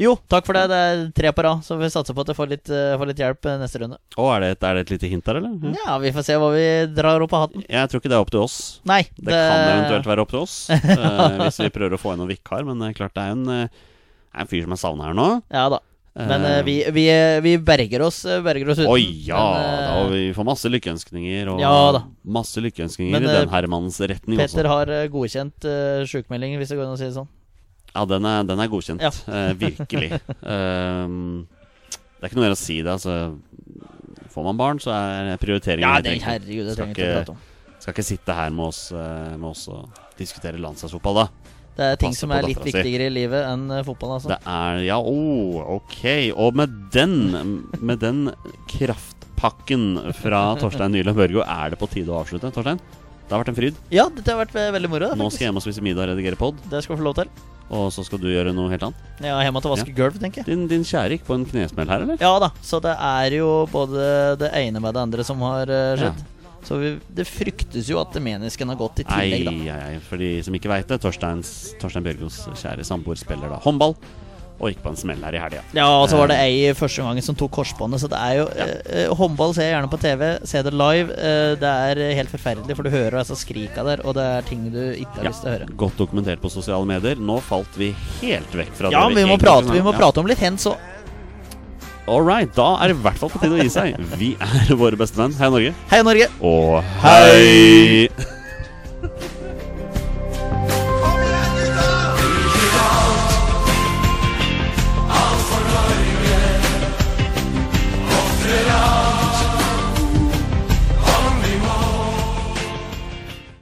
Jo, takk for det. Det er tre på rad, så vi satser på at jeg får litt, eh, får litt hjelp eh, neste runde. Å, er det, et- er det et lite hint der, eller? Ja. Ja, vi får se hva vi drar opp av hatten. Jeg tror ikke det er opp til oss. Nei, Det kan eventuelt være opp til oss, eh, hvis vi prøver å få inn noen vikar. Men det er klart det er en, eh, det er en fyr som er savna her nå. Ja da. Eh, Men eh, vi, vi, eh, vi berger oss, eh, berger oss uten. Oi, ja! Men, eh, da har vi får masse lykkeønskninger. Og Ja da. masse lykkeønskninger Men, i eh, den herremannens retning også. Petter har eh, godkjent uh, sjukmelding, hvis det går an å si det sånn. Ja, den er, den er godkjent. Ja. eh, virkelig. Ehm, det er ikke noe mer å si det. Altså, får man barn, så er prioriteringen Ja, helt det, enkel. herregud, det Skal trenger vi ikke- ikke prate om. Skal ikke sitte her med oss, eh, med oss og diskutere landslagsfotball, da. Det er ting passe som på er litt dattera si. viktigere i livet enn eh, fotball, altså. Det er Ja, oh, ok. Og med den, med den kraftpakken fra Torstein Nyland Børgo er det på tide å avslutte. Torstein, det har vært en fryd. Ja, dette har vært eh, veldig moro. da, Nå skal jeg faktisk. hjem og spise middag og redigere pod, Det skal du få lov til. og så skal du gjøre noe helt annet. Ja, hjemme til å vaske gulv, tenker jeg. Din, din kjære gikk på en knesmell her, eller? Ja da, så det er jo både det ene med det andre som har eh, skjedd. Så vi, det fryktes jo at menisken har gått i Ei, tillegg, da. ei, ei. For de som ikke veit det, Torsteins, Torstein Bjørgos kjære samboer spiller da håndball. og gikk på en smell her i helga. Ja, og så var Eh. det ei i første gangen som tok korsbåndet, så det er jo eh, eh, Håndball ser jeg gjerne på TV, ser det live. eh, det er helt forferdelig, for du hører altså skrika der, og det er ting du ikke har lyst til å høre. Godt dokumentert på sosiale medier. Nå falt vi helt vekk fra Ja, det vi må egentlig prate, snakket vi må om. prate om litt hens og Ja. All right, da er det i hvert fall på tide å gi seg. Vi er våre beste venn. Hei, Norge. Hei, Norge! Og hei!